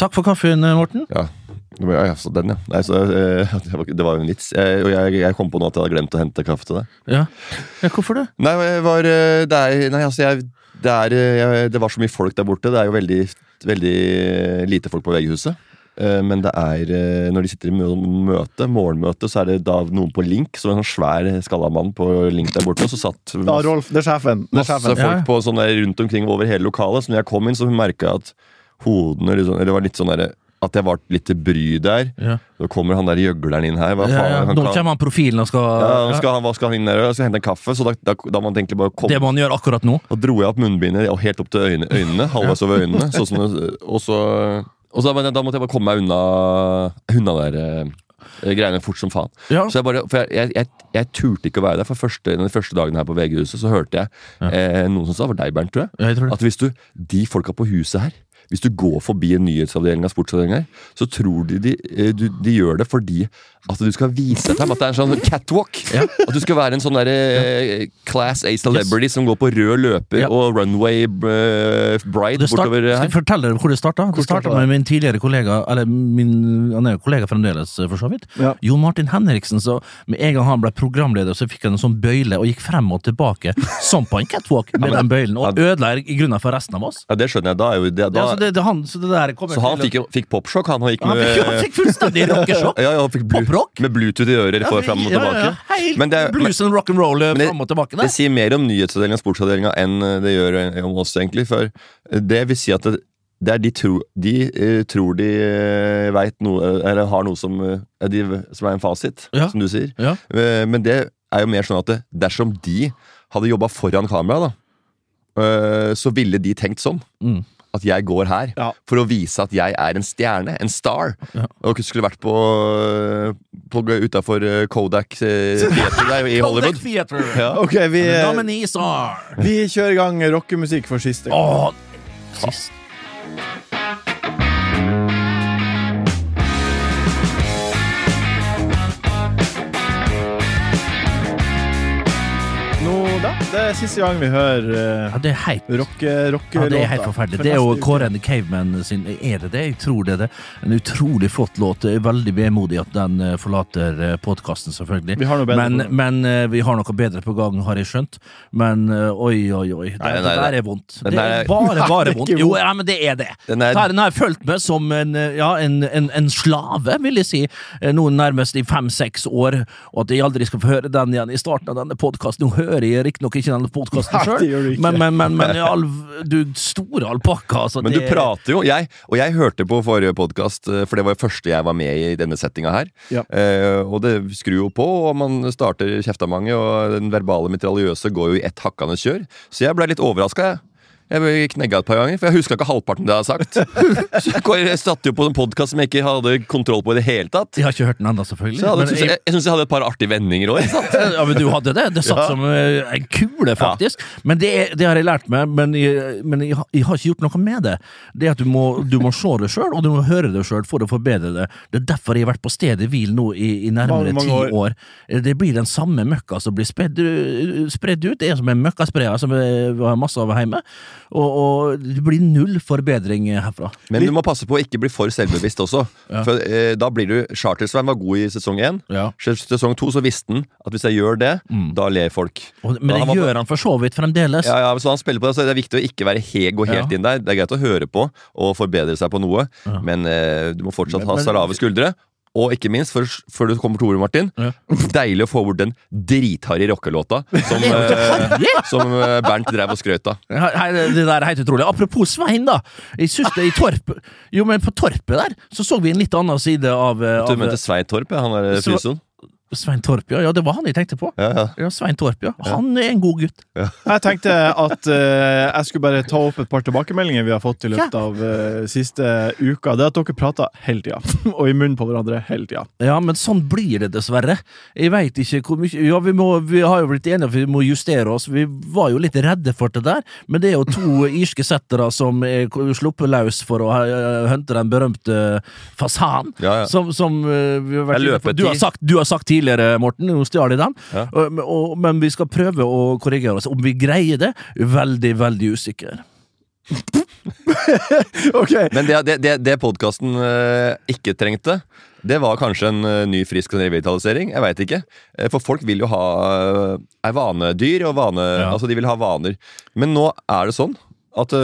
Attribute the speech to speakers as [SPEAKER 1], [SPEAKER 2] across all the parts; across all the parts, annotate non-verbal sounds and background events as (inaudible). [SPEAKER 1] Takk for kaffen, Morten.
[SPEAKER 2] Ja. Nå må jeg- ja, så den, ja. Nei, så, eh, (laughs) det var- det var jo en vits. Eh, og jeg, jeg kom på nå at jeg hadde glemt å hente kaffe til deg.
[SPEAKER 1] Ja. ja, hvorfor det?
[SPEAKER 2] Nei, jeg var, eh, det er, nei altså jeg, det, er, eh, jeg, det var så mye folk der borte. Det er jo veldig, veldig eh, lite folk på VG-huset. Eh, Men det er, eh, når de sitter i mø- møte, morgenmøte, så er det da noen på Link, som en sånn svær skalla mann på Link der borte, og så satt
[SPEAKER 3] Ja, Rolf, det er sjefen. Det er
[SPEAKER 2] masse
[SPEAKER 3] sjefen.
[SPEAKER 2] folk
[SPEAKER 1] Ja.
[SPEAKER 2] på sånn der rundt omkring over hele lokalet. Så når jeg kom inn, så merka jeg at hodene liksom, Eller det var litt sånn der, at jeg var litt til bry der.
[SPEAKER 1] Ja.
[SPEAKER 2] Så kommer han der gjøgleren inn her. Hva
[SPEAKER 1] Ja,
[SPEAKER 2] faen?
[SPEAKER 1] ja.
[SPEAKER 2] Han
[SPEAKER 1] Nå
[SPEAKER 2] kan,
[SPEAKER 1] kommer han profilen og skal,
[SPEAKER 2] ja, nå skal han, hva skal han inn der og gjøre? Skal hente en kaffe? Så da, da, da må han egentlig bare komme
[SPEAKER 1] Det må han gjøre akkurat nå.
[SPEAKER 2] da dro jeg opp munnbindet ja, helt opp til øyne, øynene, halvveis over øynene. Sånn som, det- og så, og så da, da måtte jeg bare komme meg unna, unna der eh, greiene fort som faen.
[SPEAKER 1] Ja.
[SPEAKER 2] Så jeg bare, for jeg, jeg, jeg, jeg turte ikke å være der, for første, den første dagen her på VG-huset så hørte jeg eh, noen som sa, det var deg Bernt, tror jeg,
[SPEAKER 1] Ja, jeg tror det.
[SPEAKER 2] at hvis du, de folka på huset her, hvis du går forbi en nyhetsavdeling av sportsavdeling her, så tror de de, eh, du, de gjør det fordi at du skal vise dem at det er en sånn catwalk. At du skal være en sånn der, eh, class A celebrity som går på rød løper
[SPEAKER 1] Ja.
[SPEAKER 2] og runway eh, bride
[SPEAKER 1] Det start,
[SPEAKER 2] bortover
[SPEAKER 1] skal jeg
[SPEAKER 2] her.
[SPEAKER 1] fortelle dere hvor det starta? Det starta
[SPEAKER 3] startet det?
[SPEAKER 1] med min tidligere kollega, eller min, han er jo kollega fremdeles, eh, for så vidt.
[SPEAKER 3] Ja.
[SPEAKER 1] Jon Martin Henriksen. Så med en gang han ble programleder, så fikk han en sånn bøyle og gikk frem og tilbake (laughs) som på en catwalk med den bøylen, og ødela i grunnen for resten av oss.
[SPEAKER 2] Ja, det skjønner jeg. Da er jo det,
[SPEAKER 1] Ja,
[SPEAKER 2] da,
[SPEAKER 1] så, det, det, han, så det der kommer
[SPEAKER 2] så han
[SPEAKER 1] til å-
[SPEAKER 2] fikk, jo- fikk popsjokk, han, og gikk
[SPEAKER 1] han
[SPEAKER 2] med
[SPEAKER 1] fikk, han fikk
[SPEAKER 2] (laughs)
[SPEAKER 1] fullstendig rockeshock.
[SPEAKER 2] ja, ja, han fikk blu,
[SPEAKER 1] Poprock?
[SPEAKER 2] med Bluetooth i øret for fram
[SPEAKER 1] Ja,
[SPEAKER 2] og
[SPEAKER 1] ja,
[SPEAKER 2] tilbake.
[SPEAKER 1] ja. Helt
[SPEAKER 2] Men det er- men-
[SPEAKER 1] blues and rock and roll eh,
[SPEAKER 2] Men det-
[SPEAKER 1] fram og tilbake.
[SPEAKER 2] Det
[SPEAKER 1] Der.
[SPEAKER 2] sier mer om nyhetsavdelinga og sportsavdelinga enn eh, det gjør om oss, egentlig. For eh, det vil si at det, det er de, tro, de eh, tror de eh, vet noe eh, Eller har noe som, eh, er de, som er en fasit,
[SPEAKER 1] Ja.
[SPEAKER 2] som du sier.
[SPEAKER 1] Ja.
[SPEAKER 2] Eh, Men det er jo mer sånn at det, dersom de hadde jobba foran kamera, da, eh, så ville de tenkt sånn.
[SPEAKER 1] Mm.
[SPEAKER 2] At jeg går her
[SPEAKER 3] Ja.
[SPEAKER 2] for å vise at jeg er en stjerne, en star.
[SPEAKER 1] Ja.
[SPEAKER 2] Og ikke skulle vært på, på utafor Kodak
[SPEAKER 1] (laughs)
[SPEAKER 2] eh, Theater der i Hollywood.
[SPEAKER 1] Kodak Theater.
[SPEAKER 2] Ja.
[SPEAKER 3] Ok, vi, eh,
[SPEAKER 1] The nominees are
[SPEAKER 3] vi kjører i gang rockemusikk for siste gang.
[SPEAKER 1] Åh, sist.
[SPEAKER 3] Nå da, Det er siste gang vi hører eh,
[SPEAKER 1] Ja, det er heit.
[SPEAKER 3] rocke, rocke
[SPEAKER 1] Ja, det er helt forferdelig. Det er jo Kåre and the Caveman sin Er det det? Jeg tror det er det. En utrolig flott låt. Jeg er veldig vemodig at den eh, forlater podkasten, selvfølgelig.
[SPEAKER 3] Vi har noe bedre
[SPEAKER 1] men,
[SPEAKER 3] på gang.
[SPEAKER 1] men eh, vi har noe bedre på gang, har jeg skjønt. Men eh, oi, oi, oi. Det,
[SPEAKER 2] Nei, nei,
[SPEAKER 1] det
[SPEAKER 2] nei.
[SPEAKER 1] der er vondt.
[SPEAKER 2] Den
[SPEAKER 1] Det
[SPEAKER 2] der er-
[SPEAKER 1] er
[SPEAKER 3] (laughs)
[SPEAKER 1] bare, bare
[SPEAKER 3] det er
[SPEAKER 1] vondt.
[SPEAKER 3] ikke
[SPEAKER 1] Jo,
[SPEAKER 3] vondt.
[SPEAKER 1] ja, men det er det.
[SPEAKER 2] Den er-
[SPEAKER 1] Den har jeg fulgt med som en, eh, ja, en, en, en slave, vil jeg si. Eh, Noen nærmest i fem-seks år. Og at jeg aldri skal få høre den igjen i starten av denne podkasten. Nå hører jeg riktignok ikke denne podkasten
[SPEAKER 3] Nei, det gjør du
[SPEAKER 1] sjøl,
[SPEAKER 3] ikke.
[SPEAKER 1] men, men, men, men i all, du store alpakka altså,
[SPEAKER 2] Men du
[SPEAKER 1] det-
[SPEAKER 2] prater jo, jeg, og jeg hørte på forrige podkast, for det var det første jeg var med i i denne settinga her.
[SPEAKER 3] Ja.
[SPEAKER 2] Eh, og det skrur jo på, og man starter kjeftamange, og den verbale mitraljøse går jo i ett hakkende kjør. Så jeg ble litt overraska, jeg. Jeg ble knegga et par ganger, for jeg huska ikke halvparten det jeg hadde
[SPEAKER 1] (laughs)
[SPEAKER 2] sagt. Så jeg- jeg satte jo på en podkast som jeg ikke hadde kontroll på i det hele tatt.
[SPEAKER 1] Jeg har ikke hørt den ennå, selvfølgelig.
[SPEAKER 2] Så jeg, hadde,
[SPEAKER 1] men,
[SPEAKER 2] synes jeg, jeg syns jeg hadde et par artige vendinger òg.
[SPEAKER 1] (laughs) jeg, ja, men du hadde det. Det satt som eh, en kule, faktisk. Men det, er- det har jeg lært meg, men, jeg, men jeg, har- jeg har ikke gjort noe med det. Det at du må, du må se det sjøl, og du må høre det sjøl for å forbedre det. Det er derfor jeg har vært på stedet hvil nå i, i nærmere
[SPEAKER 3] Mange, mange
[SPEAKER 1] ti
[SPEAKER 3] år.
[SPEAKER 1] år. Eh, Det blir den samme møkka som blir spredd, eh, spredd ut. Det er som en møkkasprayer som eh, vi har masse av hjemme. Og, og det blir null forbedring eh, herfra.
[SPEAKER 2] Men du må passe på å ikke bli for selvbevisst også. For eh, da blir du Charter-Svein var god i sesong én.
[SPEAKER 1] Ja.
[SPEAKER 2] Sesong to så visste han at hvis jeg gjør det,
[SPEAKER 1] Mm.
[SPEAKER 2] da ler folk.
[SPEAKER 1] Og, men
[SPEAKER 2] Da
[SPEAKER 1] det
[SPEAKER 2] han var på-
[SPEAKER 1] gjør han for så vidt fremdeles.
[SPEAKER 2] ja, ja, så han spiller på det, så det er viktig å ikke være he, gå helt
[SPEAKER 1] Ja.
[SPEAKER 2] inn der. Det er greit å høre på og forbedre seg på noe, men eh, du må fortsatt ha
[SPEAKER 3] Men-
[SPEAKER 2] salave skuldre. Og ikke minst, før, før du kommer til ordet, Martin,
[SPEAKER 1] Ja.
[SPEAKER 2] deilig å få bort den dritharry
[SPEAKER 1] (laughs)
[SPEAKER 2] rockelåta som,
[SPEAKER 1] Det er jo ikke
[SPEAKER 2] eh, som eh, Bernt drev og skrøt av.
[SPEAKER 1] Hei, det det der er helt utrolig. Apropos Svein, da. Jeg synes det i Torp Jo, men på Torpet der så så vi en litt annen side av, eh,
[SPEAKER 2] Du
[SPEAKER 1] av
[SPEAKER 2] mente Svein Torp, ja, han er
[SPEAKER 1] Så-
[SPEAKER 2] fysioen?
[SPEAKER 1] Svein Torp, ja. ja. Det var han jeg tenkte på.
[SPEAKER 2] Ja, ja.
[SPEAKER 1] Ja, Svein Torp, ja. Han er en god gutt.
[SPEAKER 3] Jeg tenkte at eh, jeg skulle bare ta opp et par tilbakemeldinger vi har fått i løpet av eh, siste uka. Det er at dere prater hele tida, (laughs) og i munnen på hverandre hele tida.
[SPEAKER 1] Ja, men sånn blir det dessverre. Jeg veit ikke hvor mye Ja, vi, må, vi har jo blitt enige om at vi må justere oss. Vi var jo litt redde for det der, men det er jo
[SPEAKER 2] (laughs)
[SPEAKER 1] to irske settere som er k- sluppet løs for å eh, hunte den berømte fasanen.
[SPEAKER 2] Ja, ja.
[SPEAKER 1] Som, som eh, vi har vært
[SPEAKER 2] Jeg
[SPEAKER 1] inne
[SPEAKER 2] løper
[SPEAKER 1] på. Du har,
[SPEAKER 2] ti.
[SPEAKER 1] sagt, du har sagt tidligere, Morten, nå stjal jeg den,
[SPEAKER 2] Ja.
[SPEAKER 1] Og- men- og, men vi skal prøve å korrigere oss. Om vi greier det, veldig, veldig usikker.
[SPEAKER 3] (laughs) OK.
[SPEAKER 2] (laughs) Men det, det, det, det podkasten eh, ikke trengte, det var kanskje en eh, ny, frisk revitalisering. Jeg veit ikke. Eh, For folk vil jo ha eh, er vanedyr og vane
[SPEAKER 3] Ja.
[SPEAKER 2] Altså, de vil ha vaner. Men nå er det sånn at eh,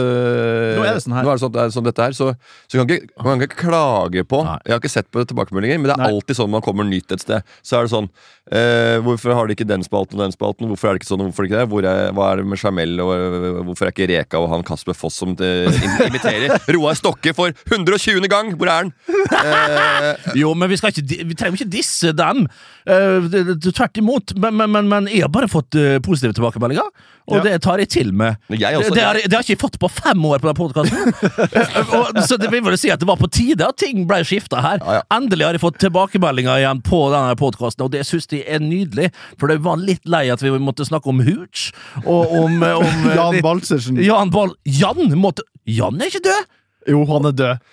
[SPEAKER 3] Nå er det sånn her.
[SPEAKER 2] nå er det sånn, det er sånn dette her, så, så kan ikke, man kan ikke klage på
[SPEAKER 1] Nei.
[SPEAKER 2] Jeg har ikke sett på tilbakemeldinger, men det er
[SPEAKER 3] Nei.
[SPEAKER 2] alltid sånn man kommer nytt et sted. Så er det sånn eh, Hvorfor har de ikke den spalten og den spalten? Hvorfor er det ikke sånn og hvorfor ikke det? Hvor er, hva er det med Jamel, og øh, hvorfor er ikke Reka og han Kasper Foss som eh, im- imiterer
[SPEAKER 3] (laughs)
[SPEAKER 2] Roar Stokke for 120. gang? Hvor er han?
[SPEAKER 1] Jo, men vi, skal ikke, di- vi trenger ikke disse dem. Eh, det- det- Tvert imot. Men, men, men, men jeg har bare fått eh, positive tilbakemeldinger, og
[SPEAKER 3] Ja.
[SPEAKER 1] det tar jeg til med.
[SPEAKER 2] Men jeg også,
[SPEAKER 1] det, det, har, det har ikke jeg fått på fem år på den
[SPEAKER 2] (laughs)
[SPEAKER 1] podkasten. så det vil vel si at det var på tide at ting ble skifta her.
[SPEAKER 2] Ja, ja.
[SPEAKER 1] Endelig har jeg fått tilbakemeldinger igjen på denne podkasten, og det syns de er nydelig. For det var litt lei at vi måtte snakke om Hooch, og om, eh, om eh,
[SPEAKER 2] (laughs)
[SPEAKER 3] Jan
[SPEAKER 1] litt-
[SPEAKER 3] Baltzersen.
[SPEAKER 1] Jan Ball Jan måtte Jan er ikke død!
[SPEAKER 3] Jo, han er død.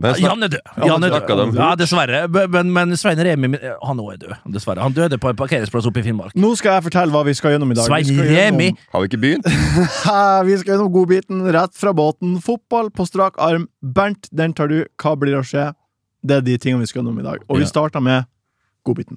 [SPEAKER 2] Men snak,
[SPEAKER 1] Jan er død.
[SPEAKER 2] Ja,
[SPEAKER 1] Jan er
[SPEAKER 2] snakket
[SPEAKER 1] død.
[SPEAKER 2] om
[SPEAKER 1] Ja, dessverre. B- Men, men Svein Remi min- Han òg er død, dessverre. Han døde på en parkeringsplass oppe i Finnmark.
[SPEAKER 3] Nå skal jeg fortelle hva vi skal gjennom i dag.
[SPEAKER 1] Svein
[SPEAKER 3] Vi skal gjennom-
[SPEAKER 1] Remi!
[SPEAKER 2] har vi ikke begynt?
[SPEAKER 3] Hæ, Vi skal gjennom godbiten, rett fra båten. Fotball på strak arm. Bernt, den tar du. Hva blir å skje? Det er de tingene vi skal gjennom i dag. Og
[SPEAKER 1] Ja.
[SPEAKER 3] vi starter med godbiten.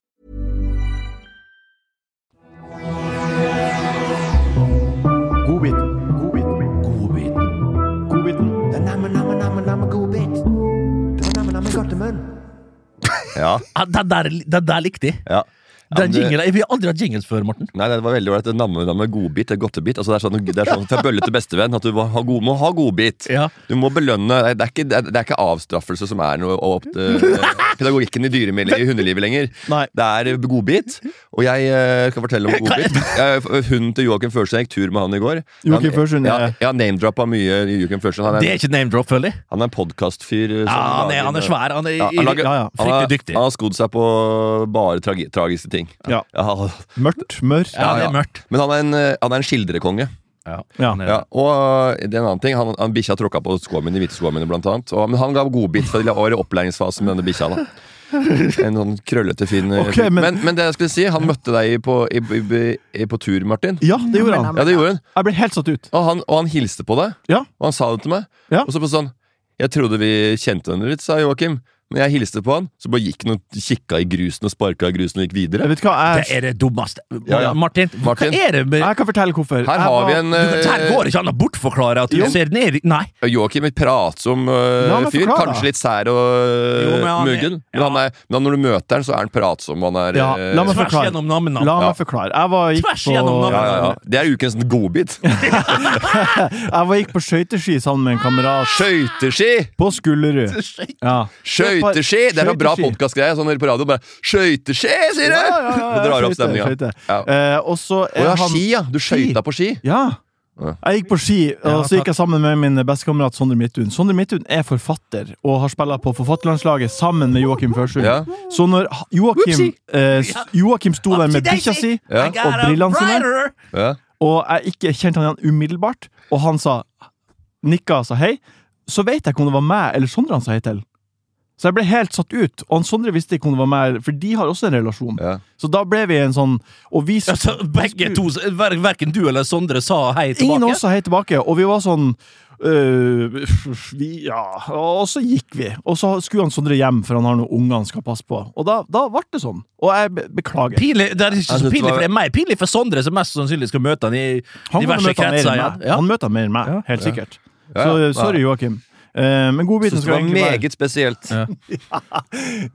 [SPEAKER 3] Godbiten. Godbiten. Godbiten.
[SPEAKER 4] Den namme, namme, namme, namme gode bit. Den namme, namme godt i munnen.
[SPEAKER 2] Ja.
[SPEAKER 1] Ja, Den der, den der likte jeg.
[SPEAKER 2] ja. Ja,
[SPEAKER 1] Den
[SPEAKER 2] men det-
[SPEAKER 1] jinglen, vi har aldri hatt jingles før, Morten.
[SPEAKER 2] Nei, det var veldig ålreit. Det Namme, namme, godbit. Det er godtebit. Altså, det er sånn, det er sånn fra bølle til bestevenn at du må ha, god, må ha godbit.
[SPEAKER 1] Ja.
[SPEAKER 2] Du må belønne. Det er ikke, det er ikke avstraffelse som er noe og opp,
[SPEAKER 1] (laughs)
[SPEAKER 2] eh, pedagogikken i dyremiljøet i hundelivet lenger.
[SPEAKER 3] Nei.
[SPEAKER 2] Det er eh, godbit. Og jeg eh, skal fortelle om godbit. Jeg- Hunden til Joakim Førsund jeg gikk tur med han i går.
[SPEAKER 3] Joakim Førsund,
[SPEAKER 2] ja,
[SPEAKER 3] eh.
[SPEAKER 2] Jeg har name-droppa mye Joakim Førsund. Han
[SPEAKER 1] Det
[SPEAKER 2] er,
[SPEAKER 1] er ikke name drop, føler jeg.
[SPEAKER 2] han er en podkastfyr. eh, som
[SPEAKER 1] Ja, han, er,
[SPEAKER 2] lager-
[SPEAKER 1] han er svær. Han er
[SPEAKER 2] Ja, han lager-
[SPEAKER 1] ja, ja,
[SPEAKER 2] han er-
[SPEAKER 1] fryktelig dyktig.
[SPEAKER 2] Han har skodd seg på bare tragi, tragiske ting.
[SPEAKER 3] Ja.
[SPEAKER 2] Ja,
[SPEAKER 3] Mørkt, mørkt.
[SPEAKER 1] Ja, det er mørkt.
[SPEAKER 2] Men han er en, eh, han er en skildrekonge.
[SPEAKER 3] Ja.
[SPEAKER 1] Han er-
[SPEAKER 2] Ja, og eh, det er en annen ting Han, han bikkja tråkka på skoene mine, hvite skoene mine blant annet. Og, men han ga godbit, for det var i opplæringsfasen med denne bikkja. da En sånn krøllete, fin
[SPEAKER 3] Ok,
[SPEAKER 2] men,
[SPEAKER 3] men-
[SPEAKER 2] men, det jeg skulle si, han møtte deg på, i, i, i, på tur, Martin.
[SPEAKER 3] ja, det gjorde han.
[SPEAKER 2] Ja, det gjorde han.
[SPEAKER 3] Jeg ble helt satt ut.
[SPEAKER 2] Og han, og han hilste på deg,
[SPEAKER 3] Ja.
[SPEAKER 2] og han sa det til meg.
[SPEAKER 3] Ja.
[SPEAKER 2] Og så på sånn Jeg trodde vi kjente hverandre litt, sa Joakim. Men jeg hilste på han, så bare gikk han og kikka i grusen og sparka i grusen og gikk videre.
[SPEAKER 3] Jeg vet hva,
[SPEAKER 1] Det
[SPEAKER 3] jeg,
[SPEAKER 1] er det dummeste.
[SPEAKER 2] Ja, ja.
[SPEAKER 1] Martin, hva
[SPEAKER 2] Martin.
[SPEAKER 1] er det med
[SPEAKER 3] jeg kan fortelle hvorfor.
[SPEAKER 2] Her
[SPEAKER 3] Jeg
[SPEAKER 2] har
[SPEAKER 3] var-
[SPEAKER 2] vi en eh,
[SPEAKER 1] Det her går ikke an å bortforklare at du
[SPEAKER 3] Jo.
[SPEAKER 1] ser ned i Nei.
[SPEAKER 2] Joakim et pratsom øh,
[SPEAKER 3] La meg
[SPEAKER 2] fyr.
[SPEAKER 3] forklare.
[SPEAKER 2] Kanskje litt sær og
[SPEAKER 1] Jo, men han er-
[SPEAKER 2] muggen. Men,
[SPEAKER 1] ja.
[SPEAKER 2] han er, men når du møter han, så er han pratsom. og Han er,
[SPEAKER 3] Ja,
[SPEAKER 2] øh,
[SPEAKER 3] la
[SPEAKER 2] ja,
[SPEAKER 3] meg
[SPEAKER 1] Tvers
[SPEAKER 3] forklare.
[SPEAKER 1] gjennom navnene.
[SPEAKER 3] La
[SPEAKER 2] Ja.
[SPEAKER 3] meg forklare. Jeg var, gikk
[SPEAKER 1] Tvers
[SPEAKER 3] på,
[SPEAKER 1] gjennom navnet.
[SPEAKER 2] ja, ja. Det er ukens godbit.
[SPEAKER 3] (laughs) jeg var, gikk på skøyteski sammen med en kamerat
[SPEAKER 2] Skøyteski!
[SPEAKER 3] på Skullerud. Ja.
[SPEAKER 2] Skøyteski! Det er en bra
[SPEAKER 3] Skøyteski.
[SPEAKER 2] podkastgreie. Sånn på radio bare Skøyteski, sier du!
[SPEAKER 3] Ja, ja,
[SPEAKER 2] (laughs)
[SPEAKER 3] ja,
[SPEAKER 2] Og drar opp
[SPEAKER 3] skøyte,
[SPEAKER 2] stemninga.
[SPEAKER 3] skøyte.
[SPEAKER 2] Ja.
[SPEAKER 3] Eh, og så
[SPEAKER 2] Å
[SPEAKER 3] er
[SPEAKER 2] ja,
[SPEAKER 3] han-
[SPEAKER 2] ski, ja. Du skøyta på ski?
[SPEAKER 3] Ja.
[SPEAKER 2] Ja.
[SPEAKER 3] Jeg gikk på ski, og så gikk jeg sammen med min bestekamerat Sondre Midthun. Sondre Midthun er forfatter og har spilt på Forfatterlandslaget sammen med Joakim Førsund.
[SPEAKER 2] Ja.
[SPEAKER 3] Så når ha- Joakim, eh, s- Joakim sto der med bikkja si
[SPEAKER 2] Ja.
[SPEAKER 3] og brillene sine,
[SPEAKER 2] Ja.
[SPEAKER 3] og jeg ikke kjente han igjen umiddelbart, og han sa nikka og sa hei, så vet jeg ikke om det var meg eller Sondre han sa hei til. Så jeg ble helt satt ut, og han Sondre visste ikke om det var meg, for de har også en relasjon.
[SPEAKER 2] Ja.
[SPEAKER 3] Så da ble vi en sånn Og vi
[SPEAKER 1] Altså, begge to, hver, Verken du eller Sondre sa hei tilbake.
[SPEAKER 3] Ingen av oss sa hei tilbake, og vi var sånn øh, vi, Ja. Og så gikk vi. Og så skulle han Sondre hjem, for han har noen unger han skal passe på. Og da, da ble det sånn. Og jeg be- beklager.
[SPEAKER 1] Pinlig, det er ikke
[SPEAKER 2] Jeg
[SPEAKER 1] så
[SPEAKER 2] synes det
[SPEAKER 1] pinlig
[SPEAKER 2] var-
[SPEAKER 1] for det er meg, pinlig for Sondre, som mest sannsynlig skal møte han i
[SPEAKER 3] Han kommer
[SPEAKER 1] diverse
[SPEAKER 3] til å møte han mer
[SPEAKER 1] kretser.
[SPEAKER 3] enn
[SPEAKER 1] Ja.
[SPEAKER 3] meg.
[SPEAKER 1] Ja.
[SPEAKER 3] Han møter han mer enn meg, helt sikkert.
[SPEAKER 2] Ja, ja.
[SPEAKER 3] Så sorry, Joakim. Eh, men
[SPEAKER 2] Synes
[SPEAKER 3] godbiten
[SPEAKER 2] det
[SPEAKER 3] skal
[SPEAKER 2] var
[SPEAKER 3] egentlig være
[SPEAKER 2] meget spesielt.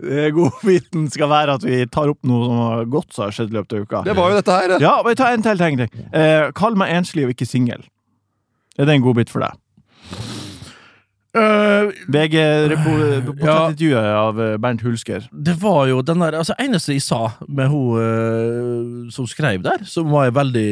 [SPEAKER 3] Eh, (laughs) Godbiten skal være at vi tar opp noe som har godt som har skjedd i løpet av uka.
[SPEAKER 2] Det var jo dette her. da.
[SPEAKER 3] Ja, men ta en til ting. ting. Eh, kall meg enslig og ikke singel. Er det en godbit for deg?
[SPEAKER 1] Eh,
[SPEAKER 3] VG-portrettintervjuet av eh, Bernt Hulsker.
[SPEAKER 1] det var jo den der altså, eneste jeg sa med hun eh, som skrev der, som var veldig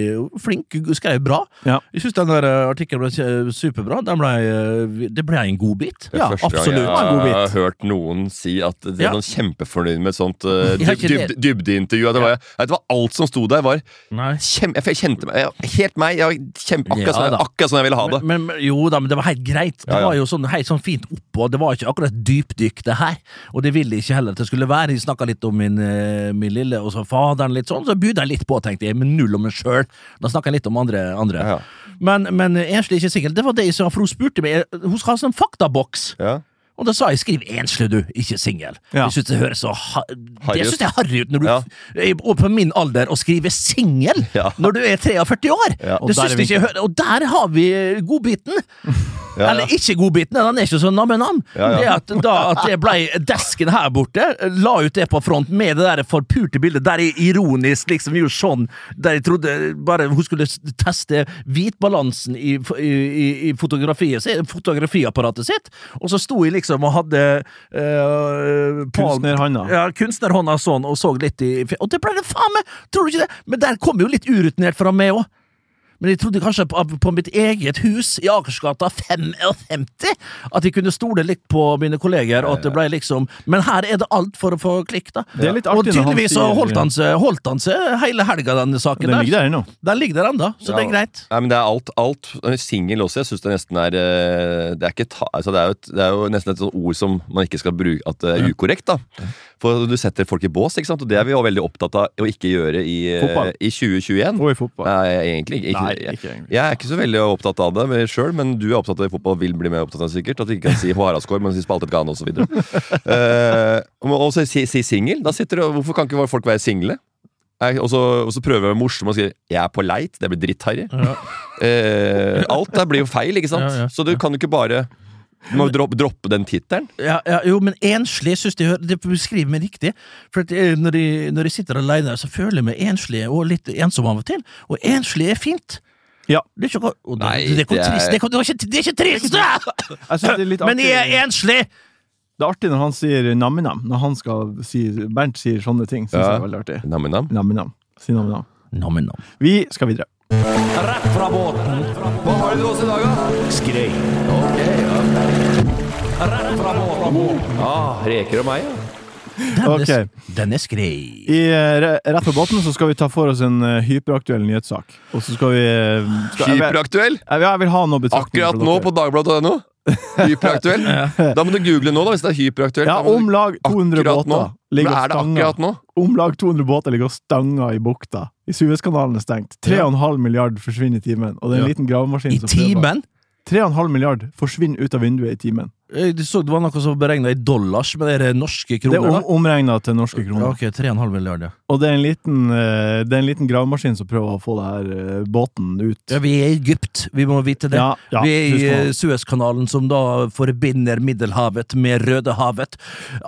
[SPEAKER 1] flink, skrev bra.
[SPEAKER 3] Ja.
[SPEAKER 1] Jeg syns den der eh, artikkelen ble kje- superbra. Den ble, eh, det ble en godbit.
[SPEAKER 2] Det er første gang
[SPEAKER 1] absolutt.
[SPEAKER 2] Jeg
[SPEAKER 1] En
[SPEAKER 2] har,
[SPEAKER 1] godbit.
[SPEAKER 2] hørt noen si at de er
[SPEAKER 1] Ja.
[SPEAKER 2] sånn kjempefornøyd med et sånt
[SPEAKER 1] (laughs)
[SPEAKER 2] eh,
[SPEAKER 1] Jeg har ikke
[SPEAKER 2] dyb, dyb,
[SPEAKER 1] det.
[SPEAKER 2] dybdeintervju. at Det var, vet du hva, alt som sto der, var
[SPEAKER 1] Nei.
[SPEAKER 2] kjem, Jeg kjente meg jeg- helt meg. Jeg, kjem, akkurat,
[SPEAKER 1] Ja,
[SPEAKER 2] sånn,
[SPEAKER 1] da.
[SPEAKER 2] akkurat sånn jeg ville ha det.
[SPEAKER 1] Men, men, jo da, men det var helt greit. Det
[SPEAKER 2] Ja, ja.
[SPEAKER 1] var jo sånn, helt sånn fint oppå. Det var ikke akkurat dypdykk, det her. Og det ville jeg ikke heller at det skulle være. Jeg snakka litt om min, eh, min lille og så faderen, litt sånn. Så bydde jeg litt på, tenkte jeg, men null om meg sjøl. Da snakka jeg litt om andre. andre.
[SPEAKER 2] Ja,
[SPEAKER 1] Men, men eh, enslig er ikke sikkert. Det var det jeg sa, for hun spurte meg. eh, Hun skal ha sånn faktaboks.
[SPEAKER 2] ja.
[SPEAKER 1] Og da sa jeg 'skriv enslig, du, ikke singel'.
[SPEAKER 3] Ja.
[SPEAKER 1] Jeg synes det høres så ha
[SPEAKER 2] Harry
[SPEAKER 1] Det
[SPEAKER 2] ut.
[SPEAKER 1] synes jeg er harry ut når du
[SPEAKER 2] Ja.
[SPEAKER 1] er og på min alder å skrive singel
[SPEAKER 2] Ja.
[SPEAKER 1] når du er 43 år!
[SPEAKER 2] Ja.
[SPEAKER 1] Det
[SPEAKER 3] Og der
[SPEAKER 1] synes
[SPEAKER 3] er
[SPEAKER 1] jeg ikke hø- Og der har vi godbiten!
[SPEAKER 2] ja.
[SPEAKER 1] Eller ikke godbiten, den er ikke så nam-nam.
[SPEAKER 2] Ja, ja.
[SPEAKER 1] Det at da at det blei desken her borte, la ut det på front med det der forpurte bildet der jeg ironisk liksom gjorde sånn, der jeg trodde bare hun skulle s- teste hvitbalansen i, f- i, i, i fotografiet, sitt- fotografiapparatet sitt, og så sto jeg liksom og hadde øh, pal-
[SPEAKER 3] Kunstnerhånda.
[SPEAKER 1] Ja, kunstnerhånda sånn, og så litt i fj- Og det ble det faen meg! Tror du ikke det? Men der kom jo litt urutinert fra meg òg. Men jeg trodde kanskje på, på mitt eget hus i Akersgata 55 at jeg kunne stole litt på mine kolleger. Og at det ble liksom Men her er det alt for å få klikk, da.
[SPEAKER 3] Det er litt
[SPEAKER 1] Og
[SPEAKER 3] artig når han
[SPEAKER 1] tydeligvis så
[SPEAKER 3] sier-
[SPEAKER 1] holdt han seg, holdt han seg hele helga, denne saken
[SPEAKER 3] Den ligger
[SPEAKER 1] der.
[SPEAKER 3] der ennå.
[SPEAKER 1] Den ligger der ennå, så det
[SPEAKER 2] Ja.
[SPEAKER 1] er greit.
[SPEAKER 2] Nei, men det er alt. alt. eh, Singel også. Jeg syns det nesten er eh, Det er, ikke ta, altså det er, jo, et, det er jo nesten et sånt ord som man ikke skal bruke At det er ukorrekt, da. For du setter folk i bås, ikke sant? og det er vi jo veldig opptatt av å ikke gjøre i, eh,
[SPEAKER 3] Fotball.
[SPEAKER 2] i 2021.
[SPEAKER 3] Og i fotball.
[SPEAKER 2] Nei, egentlig ikke.
[SPEAKER 3] Nei,
[SPEAKER 2] jeg-
[SPEAKER 3] ikke egentlig.
[SPEAKER 2] Jeg er ikke så veldig opptatt av det sjøl, men du er opptatt av det i fotball og vil bli mer opptatt av det sikkert. At du ikke kan si Haraskår, men si Spaltet Gane osv.
[SPEAKER 1] (laughs)
[SPEAKER 2] Eh, Og så si, si singel. Da sitter det- Hvorfor kan ikke folk være single? Jeg- Og så, og så prøver jeg å være morsom og sier 'jeg er på leit'. Det blir drittharry. Eh, alt der blir jo feil, ikke sant?
[SPEAKER 1] Ja, ja.
[SPEAKER 2] Så du kan jo ikke bare du må droppe, droppe den tittelen.
[SPEAKER 1] Ja, ja, jo, men enslig synes jeg hø- Det beskriver meg riktig. For at eh, når, jeg, når jeg sitter alene, så føler jeg meg enslig og litt ensom av og til. Og enslig er fint.
[SPEAKER 3] Ja.
[SPEAKER 1] Det er ikke, og det,
[SPEAKER 2] Nei,
[SPEAKER 1] det, er ikke
[SPEAKER 2] det er-
[SPEAKER 1] trist. Det er, ikke- det er ikke, det er ikke trist! da!
[SPEAKER 3] Jeg synes det er litt
[SPEAKER 1] Men
[SPEAKER 3] artig.
[SPEAKER 1] jeg er enslig!
[SPEAKER 3] Det er artig når han sier nam-nam. Når han skal si, Bernt sier sånne ting. Synes
[SPEAKER 2] Ja.
[SPEAKER 3] jeg er veldig artig.
[SPEAKER 2] Nam-nam.
[SPEAKER 3] Nam-nam. Si nam-nam.
[SPEAKER 1] Nam-nam.
[SPEAKER 3] Vi skal videre.
[SPEAKER 2] Hva har dere til oss i dag, da? Skrei. Ah, reker og meg, ja.
[SPEAKER 1] Den,
[SPEAKER 3] Ok.
[SPEAKER 1] er- den er skrei.
[SPEAKER 3] I eh, re- Rett på båten så skal vi ta for oss en eh, hyperaktuell nyhetssak. Og så skal vi eh, skal, jeg, vil-
[SPEAKER 2] Hyperaktuell!
[SPEAKER 3] jeg, vil- jeg vil ha noe betraktning
[SPEAKER 2] Akkurat
[SPEAKER 3] fra
[SPEAKER 2] nå
[SPEAKER 3] dere.
[SPEAKER 2] på dagbladet.no.
[SPEAKER 3] (laughs)
[SPEAKER 2] Hyperaktuell. Da må du google nå, da, hvis det er hyperaktuelt.
[SPEAKER 3] Ja,
[SPEAKER 2] Da må du-
[SPEAKER 3] om lag 200
[SPEAKER 2] Akkurat
[SPEAKER 3] båter
[SPEAKER 2] nå. Men
[SPEAKER 3] ligger og
[SPEAKER 2] er det
[SPEAKER 3] stanger.
[SPEAKER 2] akkurat nå?
[SPEAKER 3] Om lag 200 båter ligger og stanger i bukta. I Suezkanalen er stengt. 3,5 milliard forsvinner i timen. Og det er en
[SPEAKER 1] Ja.
[SPEAKER 3] liten gravemaskin
[SPEAKER 1] I
[SPEAKER 3] som prøver-
[SPEAKER 1] timen?
[SPEAKER 3] 3,5 milliard forsvinner ut av vinduet i timen.
[SPEAKER 1] Jeg Eh, så det var noe som beregna i dollars, men det er norske
[SPEAKER 3] Det er
[SPEAKER 1] kroner,
[SPEAKER 3] om, omregna til norske
[SPEAKER 1] da? Ja,
[SPEAKER 3] kroner.
[SPEAKER 1] ok, 3,5 milliarder.
[SPEAKER 3] Og det er en liten, eh, det er en liten gravemaskin som prøver å få det her eh, båten ut.
[SPEAKER 1] Ja, vi er i Egypt, vi må vite det.
[SPEAKER 3] Ja, ja,
[SPEAKER 1] vi er i
[SPEAKER 3] tusen
[SPEAKER 1] eh, Suezkanalen, som da forbinder Middelhavet med Rødehavet.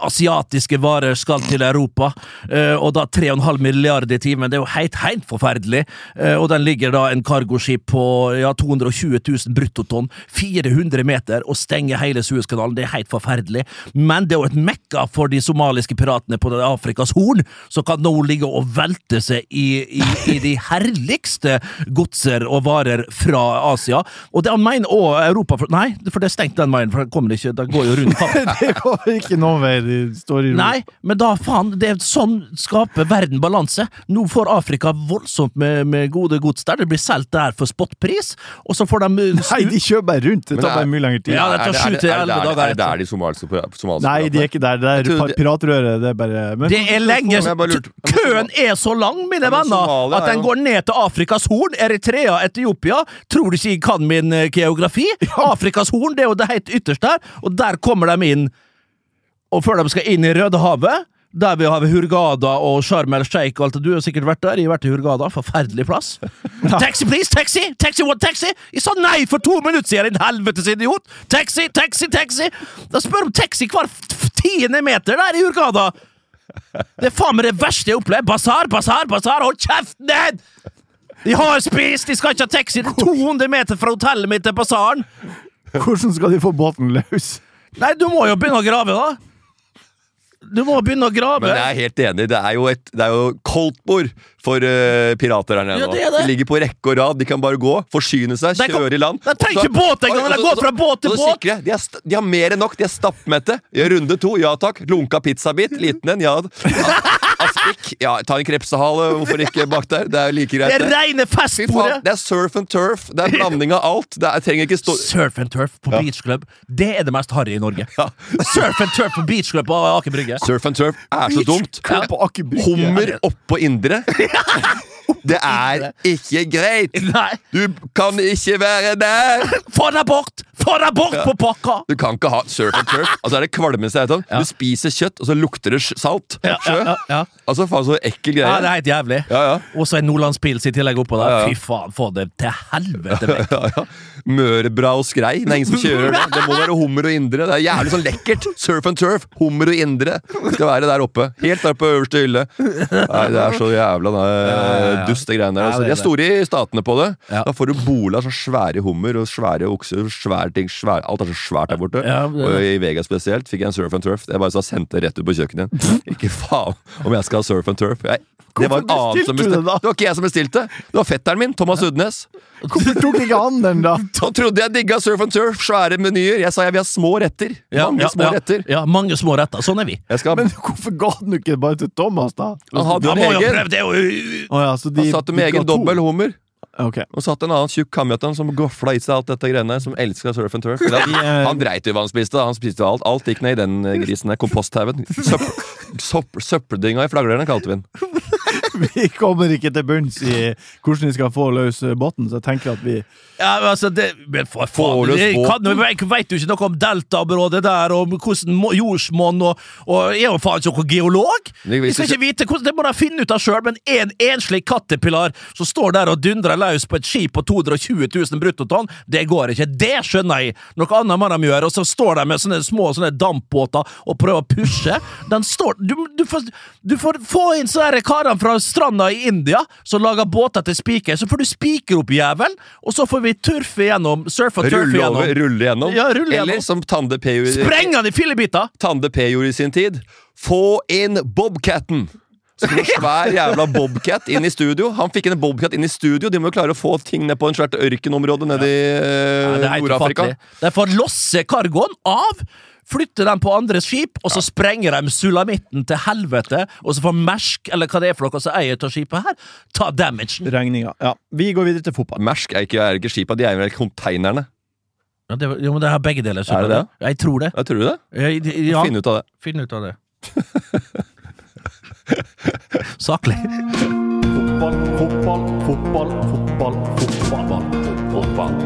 [SPEAKER 1] Asiatiske varer skal til Europa, eh, og da 3,5 milliarder i timen. Det er jo helt, helt forferdelig. Eh, Og den ligger da en cargoskip på ja, 220 000 bruttotonn, 400 meter, og stenger hele Suezkanalen. Det er helt forferdelig. Men det er jo et mekka for de somaliske piratene på Afrikas Horn, som kan nå ligge og velte seg i, i, i de herligste godser og varer fra Asia. Og det er meg og Europa for, Nei, for det er stengt den veien, for den kommer ikke, den går jo rundt Kapp.
[SPEAKER 3] (laughs) (laughs) Det går ikke noen vei. De står i ro.
[SPEAKER 1] Nei, men da faen, det er sånn skaper verden balanse. Nå får Afrika voldsomt med, med gode gods der, det blir solgt der for spotpris, og så får de
[SPEAKER 3] Nei, de kjører bare rundt. Det
[SPEAKER 2] Men
[SPEAKER 3] tar
[SPEAKER 2] det er-
[SPEAKER 3] bare mye lengre tid.
[SPEAKER 1] Ja, det tar
[SPEAKER 2] Er
[SPEAKER 1] sju
[SPEAKER 2] er
[SPEAKER 1] til
[SPEAKER 2] er
[SPEAKER 1] elleve
[SPEAKER 2] det- er det-
[SPEAKER 1] dager
[SPEAKER 2] Er det der de somaliske somaliske
[SPEAKER 3] Nei, de er ikke der. Det er
[SPEAKER 2] Jeg tror
[SPEAKER 3] par-
[SPEAKER 2] det-
[SPEAKER 3] piratrøret. Det er bare men,
[SPEAKER 1] Det er lenge
[SPEAKER 2] Men jeg bare lurte-
[SPEAKER 1] Køen er så lang, mine
[SPEAKER 2] men
[SPEAKER 1] venner,
[SPEAKER 2] Somalia
[SPEAKER 1] at
[SPEAKER 2] er
[SPEAKER 1] den
[SPEAKER 2] jo-
[SPEAKER 1] går ned til Afrikas Horn, Eritrea, Etiopia. Tror du ikke jeg kan min eh, geografi? Afrikas Horn det er jo det helt ytterste her, og der kommer de inn. Og før de skal inn i Rødehavet, Der vi har vi Hurgada og Sharm el Sheikh og alt det. Du har sikkert vært der. Jeg har vært i Hurgada. Forferdelig plass. taxi, please! Taxi! Taxi, what taxi? Jeg sa nei for to minutter siden, din helvetes idiot! Taxi, taxi, taxi! De spør om taxi hver f- tiende meter der i Hurgada! Det er faen meg det verste jeg har opplevd. Basar, basar, basar! Hold kjeften din! De har spist! De skal ikke ha taxi! Det er 200 meter fra hotellet mitt til basaren!
[SPEAKER 3] Hvordan skal de få båten løs?
[SPEAKER 1] Nei, du må jo begynne å grave, da! Du må begynne å grave!
[SPEAKER 2] Men jeg er helt enig. Det er jo et det er jo koldtbord for eh, pirater her nede.
[SPEAKER 1] Ja,
[SPEAKER 2] nå.
[SPEAKER 1] det er det.
[SPEAKER 2] De ligger på rekke og rad. De kan bare gå, forsyne seg,
[SPEAKER 1] De kan-
[SPEAKER 2] kjøre i land.
[SPEAKER 1] De trenger ikke båt engang, de går fra båt til
[SPEAKER 2] og så
[SPEAKER 1] båt.
[SPEAKER 2] sikre. De er, st- de har mer enn nok. De er stappmette. Gjør runde to. Ja takk. Lunka pizzabit. Liten en. Ja. A- Aspik. Ja, ta en krepsehale. Hvorfor ikke bak der? Det er jo like
[SPEAKER 1] det
[SPEAKER 2] greit.
[SPEAKER 1] er
[SPEAKER 2] det.
[SPEAKER 1] reine
[SPEAKER 2] Fy faen,
[SPEAKER 1] festbordet!
[SPEAKER 2] det er surf and turf. Det er blanding av alt. Det er, jeg trenger ikke stå
[SPEAKER 1] Surf and turf på beach club, det er det mest harry i Norge.
[SPEAKER 2] Ja.
[SPEAKER 1] Surf and turf på beach club på Aker Brygge.
[SPEAKER 2] Surf and turf er så dumt.
[SPEAKER 3] Club på Aker Brygge.
[SPEAKER 2] Hummer oppå
[SPEAKER 1] (laughs)
[SPEAKER 2] indre. Det er ikke greit!
[SPEAKER 1] Nei!
[SPEAKER 2] Du kan ikke være der!
[SPEAKER 1] Få deg bort! Få deg bort på pakka!
[SPEAKER 2] Du kan ikke ha surf and turf. Altså er det kvalme seg etterpå. Du spiser kjøtt, og så lukter det sj- salt. Sjø.
[SPEAKER 1] ja.
[SPEAKER 2] Altså faen så ekkel
[SPEAKER 1] Ja,
[SPEAKER 2] greie.
[SPEAKER 1] det er helt jævlig.
[SPEAKER 2] Ja, ja.
[SPEAKER 1] Og så er Nordlandspils i tillegg oppå der.
[SPEAKER 2] Ja, ja.
[SPEAKER 1] Fy faen, få det til helvete vekk.
[SPEAKER 2] Ja, ja. Mørebra og skrei. Det er ingen som kjører det. Det må være hummer og indre. Det er jævlig sånn lekkert. Surf and turf. Hummer og indre skal være der oppe. Helt der på øverste hylle. Nei, det er så jævla nei, dust, det greiene der.
[SPEAKER 1] Ja,
[SPEAKER 2] Altså,
[SPEAKER 1] det
[SPEAKER 2] de
[SPEAKER 1] er
[SPEAKER 2] er store i statene på det.
[SPEAKER 1] Ja.
[SPEAKER 2] Da får du bola sånn svære hummer og svære okser. og Svære ting, svære, alt er så svært der borte.
[SPEAKER 1] Ja, det-
[SPEAKER 2] Og i Vegas spesielt fikk jeg en surf and turf. Jeg bare sa sendte det rett ut på kjøkkenet
[SPEAKER 1] (laughs)
[SPEAKER 2] igjen. Ikke faen om jeg skal ha surf and turf. Jeg, det var en
[SPEAKER 3] Hvorfor
[SPEAKER 2] annen som
[SPEAKER 3] bestilte du det
[SPEAKER 2] bestilte.
[SPEAKER 3] da?
[SPEAKER 2] Det var ikke jeg som bestilte. Det var fetteren min, Thomas Udnes.
[SPEAKER 3] Hvorfor tok ikke han den, da?
[SPEAKER 2] Han trodde jeg digga surf and turf, svære menyer. Jeg sa jeg vil ha små retter. Mange små
[SPEAKER 1] ja,
[SPEAKER 2] retter.
[SPEAKER 1] Ja, mange små retter. Sånn er vi.
[SPEAKER 2] Jeg skal,
[SPEAKER 3] Men hvorfor ga han ikke det bare til Thomas, da?
[SPEAKER 2] han hadde
[SPEAKER 1] Da
[SPEAKER 2] en
[SPEAKER 1] må jo
[SPEAKER 2] egen,
[SPEAKER 1] prøve det! jo-
[SPEAKER 3] Å ja, så de,
[SPEAKER 2] han satt
[SPEAKER 3] de
[SPEAKER 2] med
[SPEAKER 3] ga
[SPEAKER 2] egen
[SPEAKER 3] to.
[SPEAKER 2] dobbel hummer.
[SPEAKER 3] Ok.
[SPEAKER 2] Og satt en annen tjukk kamerat han som gofla i seg alt dette greiene her, som elska surf and turf. Eller,
[SPEAKER 3] eh,
[SPEAKER 2] han dreit i hva han spiste. da. Han spiste jo alt. Alt gikk ned i den eh, grisen der. Komposthaugen. Søpp- søpp- Søppeldynga i flaglerne, kalte vi den.
[SPEAKER 3] Vi kommer ikke til bunns i hvordan vi skal få løs eh, båten, så jeg tenker at vi
[SPEAKER 1] Ja, men altså, det, men for faen,
[SPEAKER 2] Fårløs
[SPEAKER 1] jeg
[SPEAKER 2] båt.
[SPEAKER 1] kan, jeg vet, vet jo ikke noe om deltaområdet der, og hvordan må- jordsmonn og, og Jeg er jo faen ikke noen geolog!
[SPEAKER 2] Vi- vi-
[SPEAKER 1] Jeg skal ikke vite hvordan, Det må de finne ut av sjøl, men en enslig kattepilar som står der og dundrer løs på et skip på 220 000 bruttotonn, det går ikke. Det skjønner jeg! Noe annet må de gjøre, og så står de med sånne små sånne dampbåter og prøver å pushe. Den står Du, du, får, du får få inn sånne karer fra stranda i India som lager båter til spiker, så får du spiker opp jævelen, og så får vi turfe gjennom, surfe og turfe
[SPEAKER 2] Rulle over,
[SPEAKER 1] gjennom.
[SPEAKER 2] rulle gjennom.
[SPEAKER 1] Ja, rulle
[SPEAKER 2] Eller
[SPEAKER 1] gjennom.
[SPEAKER 2] som Tande P gjorde
[SPEAKER 1] Spreng han i fillebiter!
[SPEAKER 2] Tande P gjorde i sin tid. Få inn Bobcatten! Så kom en
[SPEAKER 1] (laughs)
[SPEAKER 2] svær jævla Bobcat inn i studio. Han fikk en Bobcat inn i studio. De må jo klare å få ting ned på en svært ørkenområde nede i
[SPEAKER 1] Ja,
[SPEAKER 2] eh,
[SPEAKER 1] det er helt
[SPEAKER 2] Nord-Afrika.
[SPEAKER 1] ufattelig. De får losse kargoen av, flytte den på andre skip, og så sprenger de sulamitten til helvete, og så får Mersk, eller hva det er for noe som eier av skipet her, ta damagen.
[SPEAKER 3] Regninga. Ja. Vi går videre til fotball.
[SPEAKER 2] Mersk er ikke, er ikke skipa, de er vel konteinerne.
[SPEAKER 1] Ja, det, jo, men det har begge deler. skjønner
[SPEAKER 2] Er det det?
[SPEAKER 1] du? Jeg tror det.
[SPEAKER 2] Ja, tror du det?
[SPEAKER 1] Jeg, ja,
[SPEAKER 2] Finn ut av det.
[SPEAKER 1] finn ut av det. (laughs) Saklig.
[SPEAKER 3] Fotball, fotball, fotball, fotball, fotball.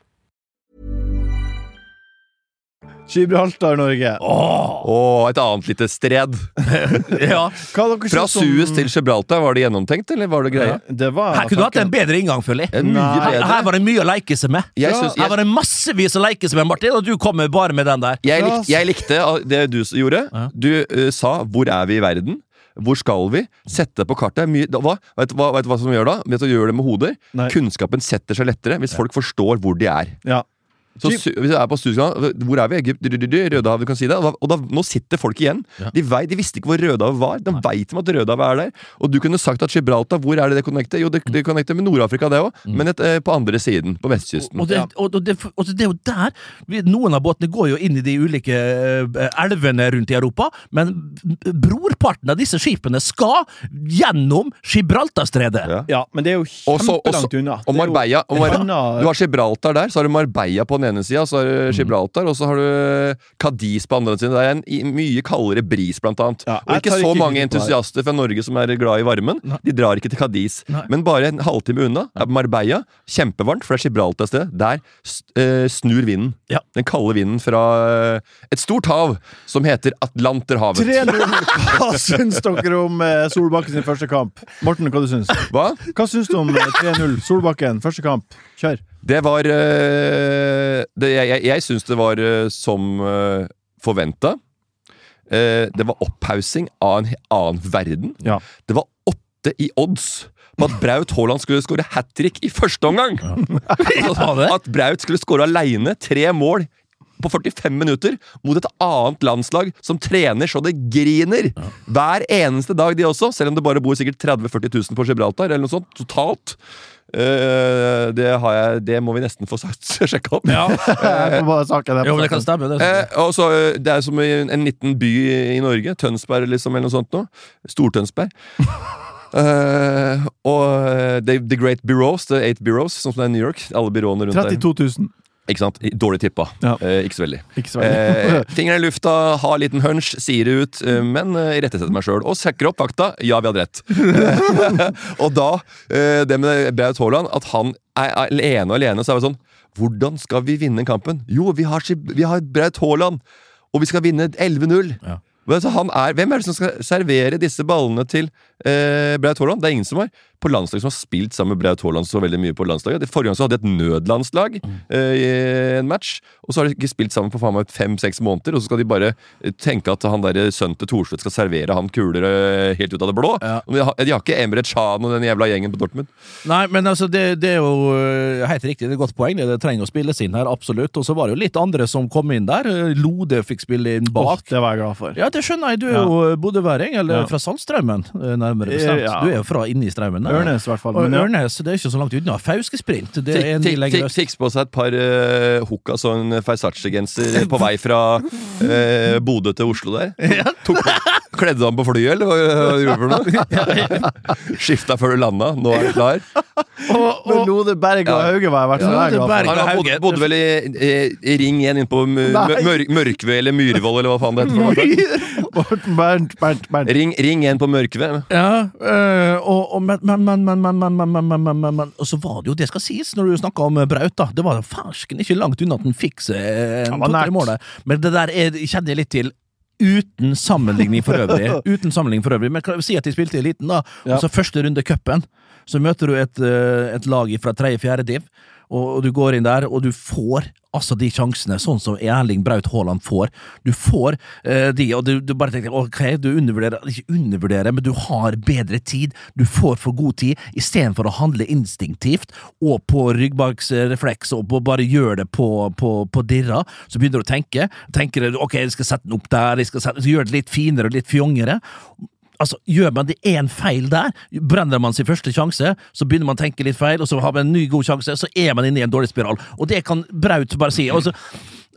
[SPEAKER 5] Gibraltar, Norge.
[SPEAKER 2] Og et annet lite stred.
[SPEAKER 1] (laughs) Ja.
[SPEAKER 5] Hva dere
[SPEAKER 2] Fra
[SPEAKER 5] synes om-
[SPEAKER 2] Suez til Gibraltar, var det gjennomtenkt, eller var det greie?
[SPEAKER 5] Det var
[SPEAKER 1] Her kunne du hatt en bedre inngang, føler jeg.
[SPEAKER 2] En mye
[SPEAKER 1] Her, her
[SPEAKER 2] bedre.
[SPEAKER 1] var det mye å leke seg med.
[SPEAKER 2] Jeg synes-
[SPEAKER 1] Her var det massevis å leke seg med, Martin, og du kommer bare med den der.
[SPEAKER 2] Jeg, lik, jeg likte det du s- gjorde. Du eh, sa 'hvor er vi i verden'? Hvor skal vi? Sette på kartet. Mye, da, hva, vet, du hva, vet du hva som gjør da? Vet du hva gjør det med hoder?
[SPEAKER 5] Nei.
[SPEAKER 2] Kunnskapen setter seg lettere hvis folk forstår hvor de er.
[SPEAKER 5] Ja.
[SPEAKER 2] Så su, hvis jeg er på Suezkanalen, Hvor er vi? Egypt? Du- du- du- Rødehavet, du kan si det. Og da, og da, nå sitter folk igjen. De, vei, de visste ikke hvor Rødehavet var. De veit de at Rødehavet er der. Og du kunne sagt at Gibraltar, hvor er det det connecter? Jo, det, det connecter med Nord-Afrika, det òg, men et, eh, på andre siden. På vestkysten.
[SPEAKER 1] Mm. Og det, og, og det, og det er jo der vi, Noen av båtene går jo inn i de ulike eh, elvene rundt i Europa, men brorparten av disse skipene skal gjennom Gibraltarstredet.
[SPEAKER 2] Ja.
[SPEAKER 5] Ja, men det er jo
[SPEAKER 2] Og så- og så-
[SPEAKER 5] kjempelangt unna. Det
[SPEAKER 2] Og
[SPEAKER 5] er jo
[SPEAKER 2] Marbella. Og Mar
[SPEAKER 5] en annen- Mm.
[SPEAKER 2] Du har Gibraltar der, så har du Marbella på den ene sida, så har du Gibraltar, og så har du Cadiz på andre siden. Det er en i- mye kaldere bris, blant annet.
[SPEAKER 5] Ja,
[SPEAKER 2] og
[SPEAKER 5] jeg
[SPEAKER 2] ikke
[SPEAKER 5] tar
[SPEAKER 2] så
[SPEAKER 5] ikke hytte
[SPEAKER 2] mange
[SPEAKER 5] på det her.
[SPEAKER 2] entusiaster fra Norge som er glad i varmen. De drar ikke til Cadiz. Men bare en halvtime unna er Marbella. Kjempevarmt, for det er Gibraltar et sted. Der s- eh, snur vinden.
[SPEAKER 1] Ja.
[SPEAKER 2] Den kalde vinden fra eh, et stort hav som heter Atlanterhavet.
[SPEAKER 5] 3-0. Hva syns dere om eh, Solbakken sin første kamp? Morten, hva du syns
[SPEAKER 2] Hva?
[SPEAKER 5] Hva syns du om eh, 3-0? Solbakken, første kamp. Kjør.
[SPEAKER 2] Det var eh, det, Jeg, jeg, jeg syns det var eh, som uh, forventa. Eh, det var opphaussing av en he- annen verden.
[SPEAKER 5] Ja.
[SPEAKER 2] Det var åtte i odds på at Braut Haaland skulle skåre hat trick i første omgang!
[SPEAKER 1] Var det?
[SPEAKER 2] At Braut skulle skåre aleine tre mål på 45 minutter mot et annet landslag som trener så det griner! Hver eneste dag, de også. Selv om det bare bor sikkert 30 000-40 000 på Gibraltar, eller noe sånt totalt. Eh, det, har jeg, det må vi nesten få sagt, (laughs) sjekke opp.
[SPEAKER 3] Eh,
[SPEAKER 5] Jeg får bare saken her.
[SPEAKER 1] Jo, men det kan stemme. Det,
[SPEAKER 2] Eh, og så, eh, det er som i en, en liten by i Norge. Tønsberg liksom, eller noe sånt. Nå. Stor-Tønsberg. Eh, og eh, the, the Great Bureaus, The Eight Bureaus, sånn som det er i New York. Alle byråene rundt
[SPEAKER 5] 32 000.
[SPEAKER 2] der. Ikke sant? Dårlig tippa.
[SPEAKER 5] Ja.
[SPEAKER 2] Eh, ikke så veldig.
[SPEAKER 5] Ikke så
[SPEAKER 2] Eh,
[SPEAKER 5] veldig.
[SPEAKER 2] fingeren i lufta, ha en liten hunch, sier det ut, eh, men eh, irettesetter meg sjøl og sjekker opp fakta. Ja, vi hadde rett. (laughs) og da, eh, det med Braut Haaland, at han er alene og alene, så er det sånn Hvordan skal vi vinne kampen? Jo, vi har, Gib- vi har Braut Haaland, og vi skal vinne 11-0.
[SPEAKER 1] Ja.
[SPEAKER 2] Men Altså, han er, hvem er det som skal servere disse ballene til eh, Braut Haaland? Det er ingen som har på landslag som har spilt sammen med Braut Haaland så veldig mye på landslaget. Det- Forrige gang så hadde de et nødlandslag
[SPEAKER 1] Mm.
[SPEAKER 2] eh, i en match, og så har de ikke spilt sammen på faen meg fem-seks måneder, og så skal de bare eh, tenke at han der sønnen til Thorstvedt skal servere han kuler eh, helt ut av det blå. Og De, har, de har ikke Emre Can og den jævla gjengen på Dortmund.
[SPEAKER 1] Nei, men altså, det, det er jo øh, helt riktig, det er et godt poeng. Det, det trenger å spilles inn her, absolutt. Og så var det jo litt andre som kom inn der. Øh, Lode fikk spille inn
[SPEAKER 5] Åh,
[SPEAKER 1] bak.
[SPEAKER 5] det var jeg glad for.
[SPEAKER 1] Ja, det skjønner jeg. Du er
[SPEAKER 5] Ja.
[SPEAKER 1] jo øh, bodøværing, eller
[SPEAKER 5] Ja. Eh,
[SPEAKER 1] fra Saltstraumen, øh, nærmere bestemt.
[SPEAKER 5] Ja.
[SPEAKER 1] Du er jo fra inni straumen. der.
[SPEAKER 5] Ørnes, i hvert fall.
[SPEAKER 1] Og
[SPEAKER 5] Men ja.
[SPEAKER 1] Ørnes det er ikke så langt unna. Fausgesprint. Det er en del
[SPEAKER 2] Fikk, fikk,
[SPEAKER 1] lenger
[SPEAKER 2] fikk,
[SPEAKER 1] øst.
[SPEAKER 2] fikk på seg et par uh, hookas og en Feisace-genser på vei fra eh, Bodø til
[SPEAKER 1] (laughs)
[SPEAKER 2] Oslo der. Tok, kledde du ham på flyet, eller hva hva gjorde du for
[SPEAKER 1] (laughs)
[SPEAKER 2] noe? Skifta før du landa, nå er du klar.
[SPEAKER 5] Men Lode Berg og Hauge var jeg i hvert fall
[SPEAKER 1] Ja,
[SPEAKER 5] jeg glad
[SPEAKER 1] Lode
[SPEAKER 5] for.
[SPEAKER 1] Berg.
[SPEAKER 3] (laughs)
[SPEAKER 2] Han har bodd, bodde vel i, eh, i Ring 1 inne på Mø-
[SPEAKER 5] Nei.
[SPEAKER 2] Mør Mørkve eller Myrvoll, eller hva faen det heter. for noe.
[SPEAKER 5] Morten Bernt, Bernt, Bernt.
[SPEAKER 2] Ring, ring 1 på Mørkve.
[SPEAKER 1] Ja, øh, og, og men, men, men, men, men, men, men, men, men, men, men Og så var det jo, det skal sies, når du snakka om eh, Braut, da. Det var jo fersken ikke langt unna at han fikk seg eh,
[SPEAKER 5] Det
[SPEAKER 1] en
[SPEAKER 5] var
[SPEAKER 1] to-tre
[SPEAKER 5] nært.
[SPEAKER 1] mål der. Men det der er, kjenner jeg litt til. Uten sammenligning for øvrig. Uten sammenligning for øvrig Men kan jeg si at de spilte i eliten, da.
[SPEAKER 5] Ja.
[SPEAKER 1] Og så første runde i cupen. Så møter du et, eh, et lag fra tredje-fjerde div, og og du går inn der, og du får altså de sjansene, sånn som Erling Braut Haaland får. Du får eh, de, og du, du bare tenker ok, du undervurderer Ikke undervurderer, men du har bedre tid. Du får for god tid, istedenfor å handle instinktivt og på ryggbagsrefleks og på, bare gjør det på, på, på dirra. Så begynner du å tenke. Tenker du ok, jeg skal sette den opp der, jeg skal, sette, gjøre det litt finere og litt fjongere. Altså, Gjør man det én feil der, brenner man sin første sjanse, så begynner man å tenke litt feil, og så har man en ny god sjanse, så er man inne i en dårlig spiral. Og det kan Braut bare si. Altså,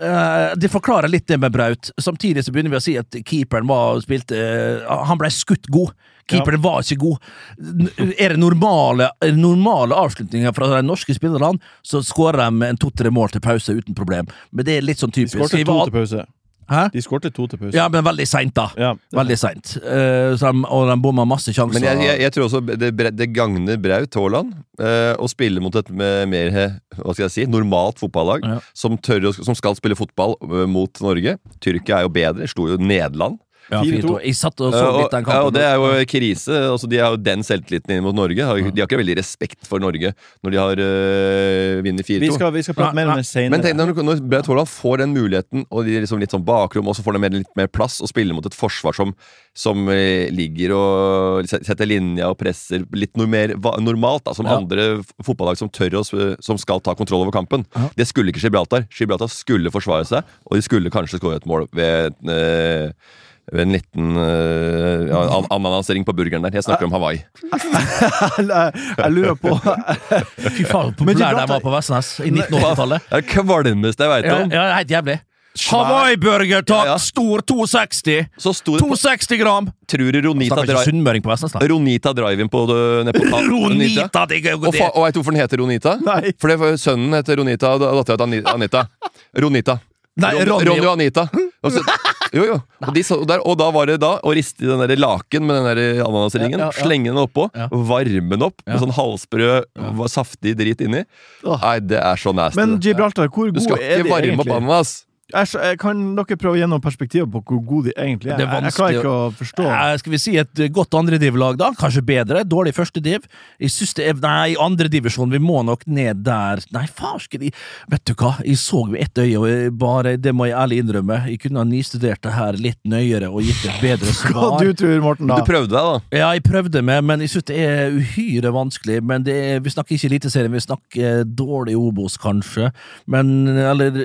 [SPEAKER 1] eh, det forklarer litt det med Braut. Samtidig så begynner vi å si at keeperen var spilte eh, Han blei skutt god. Keeperen var ikke god. N- Er det normale, er det normale avslutninger fra de norske spillerne, så skårer de en to-tre mål til pause uten problem. Men det er litt sånn typisk.
[SPEAKER 5] Skårte
[SPEAKER 1] Jeg
[SPEAKER 5] to
[SPEAKER 1] var-
[SPEAKER 5] til pause.
[SPEAKER 1] Hæ?
[SPEAKER 5] De skårte to til pause.
[SPEAKER 1] Ja, men veldig seint, da.
[SPEAKER 5] Ja.
[SPEAKER 1] Veldig seint. Eh, så de- og de bomma masse sjanser.
[SPEAKER 2] Men jeg, jeg, jeg tror også det, bre- det gagner Braut Haaland eh, å spille mot et me- mer eh, hva skal jeg si, normalt fotballag
[SPEAKER 1] Ja.
[SPEAKER 2] som, tør, å- som skal spille fotball eh, mot Norge. Tyrkia er jo bedre, slo jo Nederland.
[SPEAKER 1] ja, 4-2. Jeg satt og
[SPEAKER 2] Eh,
[SPEAKER 1] så
[SPEAKER 2] og,
[SPEAKER 1] litt den
[SPEAKER 2] ja, og
[SPEAKER 1] kampen.
[SPEAKER 2] det er jo krise. Altså, de har jo den selvtilliten inn mot Norge. Har- De har ikke veldig respekt for Norge når de har eh, vunnet 4-2.
[SPEAKER 5] Vi skal, vi skal prate
[SPEAKER 1] Nei,
[SPEAKER 5] mer om det
[SPEAKER 2] Men tenk
[SPEAKER 5] senere.
[SPEAKER 2] deg når, når Braut Haaland får den muligheten, og de er liksom litt sånn bakrom, og så får de mer, litt mer plass, og spiller mot et forsvar som, som eh, ligger og set- setter linja og presser litt noe mer va- normalt, da, som
[SPEAKER 1] Ja.
[SPEAKER 2] andre f- fotballag som tør å, sp- som skal ta kontroll over kampen. Det skulle ikke Gibraltar. Gibraltar skulle forsvare seg, og de skulle kanskje skåre et mål ved eh, ved en liten eh, ja, an- ananasering på burgeren der. Jeg snakker om Hawaii.
[SPEAKER 5] eh, Jeg lurer
[SPEAKER 1] (laughs)
[SPEAKER 5] på
[SPEAKER 1] Fy faen, hvor
[SPEAKER 5] Men
[SPEAKER 1] populær de
[SPEAKER 5] Gibraltar-
[SPEAKER 1] var på Vestnes i
[SPEAKER 2] (laughs)
[SPEAKER 1] 1980-tallet.
[SPEAKER 2] Det er det kvalmeste jeg veit
[SPEAKER 1] Ja,
[SPEAKER 2] om.
[SPEAKER 1] ja, helt jævlig. Hawaii-burger, takk!
[SPEAKER 2] Ja, ja.
[SPEAKER 1] Stor 260!
[SPEAKER 2] Så sto det på
[SPEAKER 1] 260 gram!
[SPEAKER 2] Tror du Ronita
[SPEAKER 1] Snakker ikke
[SPEAKER 2] drar
[SPEAKER 1] sunnmøring på Vestnes, da.
[SPEAKER 2] Ronita Drive-In på nede på ta-
[SPEAKER 1] (laughs) Ronita! Det er jo
[SPEAKER 2] Og,
[SPEAKER 1] det.
[SPEAKER 2] fa og veit du hvorfor den heter Ronita?
[SPEAKER 5] Nei.
[SPEAKER 2] For det var sønnen heter Ronita, og dattera heter Ani- Anita. Ronita.
[SPEAKER 1] Nei,
[SPEAKER 2] Ron-
[SPEAKER 1] Ronny-
[SPEAKER 2] Ronny og Anita. Og så, jo, jo. Og, de så der, og da var det da å riste i den der laken med den der ananasringen,
[SPEAKER 1] Ja, ja, ja.
[SPEAKER 2] slenge den oppå,
[SPEAKER 1] Ja.
[SPEAKER 2] varme den opp med sånn halvsprø, va- saftig drit inni. Nei, det er så nasty.
[SPEAKER 3] Men
[SPEAKER 2] det.
[SPEAKER 3] Gibraltar, hvor
[SPEAKER 2] du
[SPEAKER 3] god
[SPEAKER 2] skal
[SPEAKER 3] er
[SPEAKER 2] ikke
[SPEAKER 3] de
[SPEAKER 2] varme opp
[SPEAKER 3] egentlig?
[SPEAKER 2] ananas.
[SPEAKER 3] Jeg, skj- jeg kan dere prøve gjennom perspektivet på hvor gode de egentlig er?
[SPEAKER 1] Det er
[SPEAKER 3] Jeg, jeg klarer
[SPEAKER 1] vanskelig
[SPEAKER 3] ikke å forstå.
[SPEAKER 1] Eh, skal vi si et eh, godt andrediv-lag, da? Kanskje bedre? Dårlig førstediv? Jeg synes det er Nei, andredivisjon, vi må nok ned der Nei, farske de Vet du hva, jeg så med ett øye, og jeg bare Det må jeg ærlig innrømme. Jeg kunne ha nistudert det her litt nøyere og gitt et bedre
[SPEAKER 3] (laughs) Hva
[SPEAKER 1] svar.
[SPEAKER 3] du tror Morten, da?
[SPEAKER 2] Du prøvde deg, da.
[SPEAKER 1] Ja, jeg prøvde meg, men jeg synes det er uhyre vanskelig. Men det er, Vi snakker ikke Eliteserien, vi snakker dårlig Obos, kanskje. Men eller (sighs)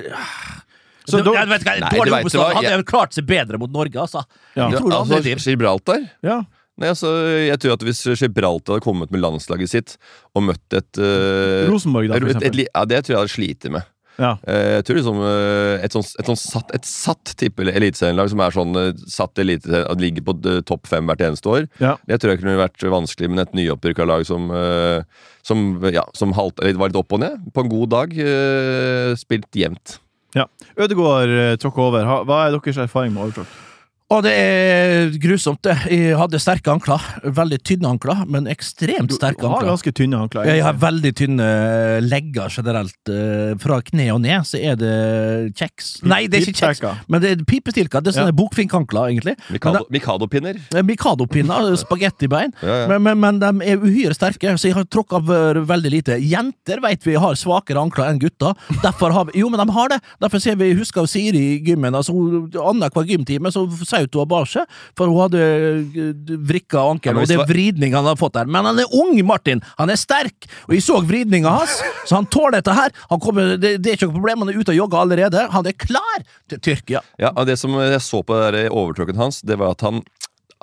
[SPEAKER 3] Så
[SPEAKER 1] det,
[SPEAKER 3] da-
[SPEAKER 1] jeg vet ikke,
[SPEAKER 2] Nei, du
[SPEAKER 1] Dårlig
[SPEAKER 2] vet
[SPEAKER 1] Obos
[SPEAKER 2] hva,
[SPEAKER 1] hadde
[SPEAKER 2] jeg-
[SPEAKER 1] jeg... klart seg bedre mot Norge, altså.
[SPEAKER 3] Ja.
[SPEAKER 1] Jeg tror det
[SPEAKER 2] Altså,
[SPEAKER 1] andre div.
[SPEAKER 2] Gibraltar?
[SPEAKER 3] Ja.
[SPEAKER 2] Nei, altså, jeg tror at Hvis Gibraltar hadde kommet med landslaget sitt og møtt et eh,
[SPEAKER 3] Rosenborg, da, for
[SPEAKER 2] et, et,
[SPEAKER 3] eksempel.
[SPEAKER 2] li- ja, Det tror jeg hadde slitt med.
[SPEAKER 3] Ja.
[SPEAKER 2] Eh, Jeg tror liksom eh, et sånn, et sånn satt, et satt tippe eliteserielag som er sånn eh, satt elite, at ligger på eh, topp fem hvert eneste år,
[SPEAKER 3] Ja.
[SPEAKER 2] det tror jeg kunne vært vanskelig. Men et nyopprykka lag som, eh, som, ja, som halt, eller var litt opp og ned, på en god dag, eh, spilt jevnt.
[SPEAKER 3] ja. Ødegaard eh, tråkk over. Ha, hva er deres erfaring med overtråkk?
[SPEAKER 1] Og det er grusomt, det. Jeg hadde sterke ankler. Veldig tynne ankler, men ekstremt sterke
[SPEAKER 3] har
[SPEAKER 1] ankler.
[SPEAKER 3] ganske tynne ankler.
[SPEAKER 1] Jeg har veldig tynne eh, legger generelt. eh, Fra kne og ned så er det kjeks. Nei, det er ikke kjeks,
[SPEAKER 3] Pipestilker.
[SPEAKER 1] men det er pipestilker. Det er sånne bokfinkankler, egentlig. Men
[SPEAKER 2] Mikado- Mikado-pinner.
[SPEAKER 1] Eh,
[SPEAKER 2] (laughs)
[SPEAKER 1] Mikado-pinner, spagettibein.
[SPEAKER 2] Ja, ja.
[SPEAKER 1] Men, men, men de er uhyre sterke, så jeg har tråkka over veldig lite. Jenter vet vi har svakere ankler enn gutter. Derfor har vi, jo, men de har det. Derfor ser vi, husker jo Siri i gymmen. altså hun- Annenhver gymtime så saut hun av bar seg, for hun hadde eh, vrikka
[SPEAKER 2] Ja,
[SPEAKER 1] ankelen.
[SPEAKER 2] men
[SPEAKER 1] og det
[SPEAKER 2] hvis
[SPEAKER 1] er vridning han har fått der. Men han er ung, Martin! Han er sterk! Og jeg så vridninga hans, så han tåler dette her. Han kommer, det, det er ikke noe problem, han er ute og jogger allerede. Han er klar til Tyrkia.
[SPEAKER 2] Ja, og Det som jeg så på det der overtråkken hans, det var at han,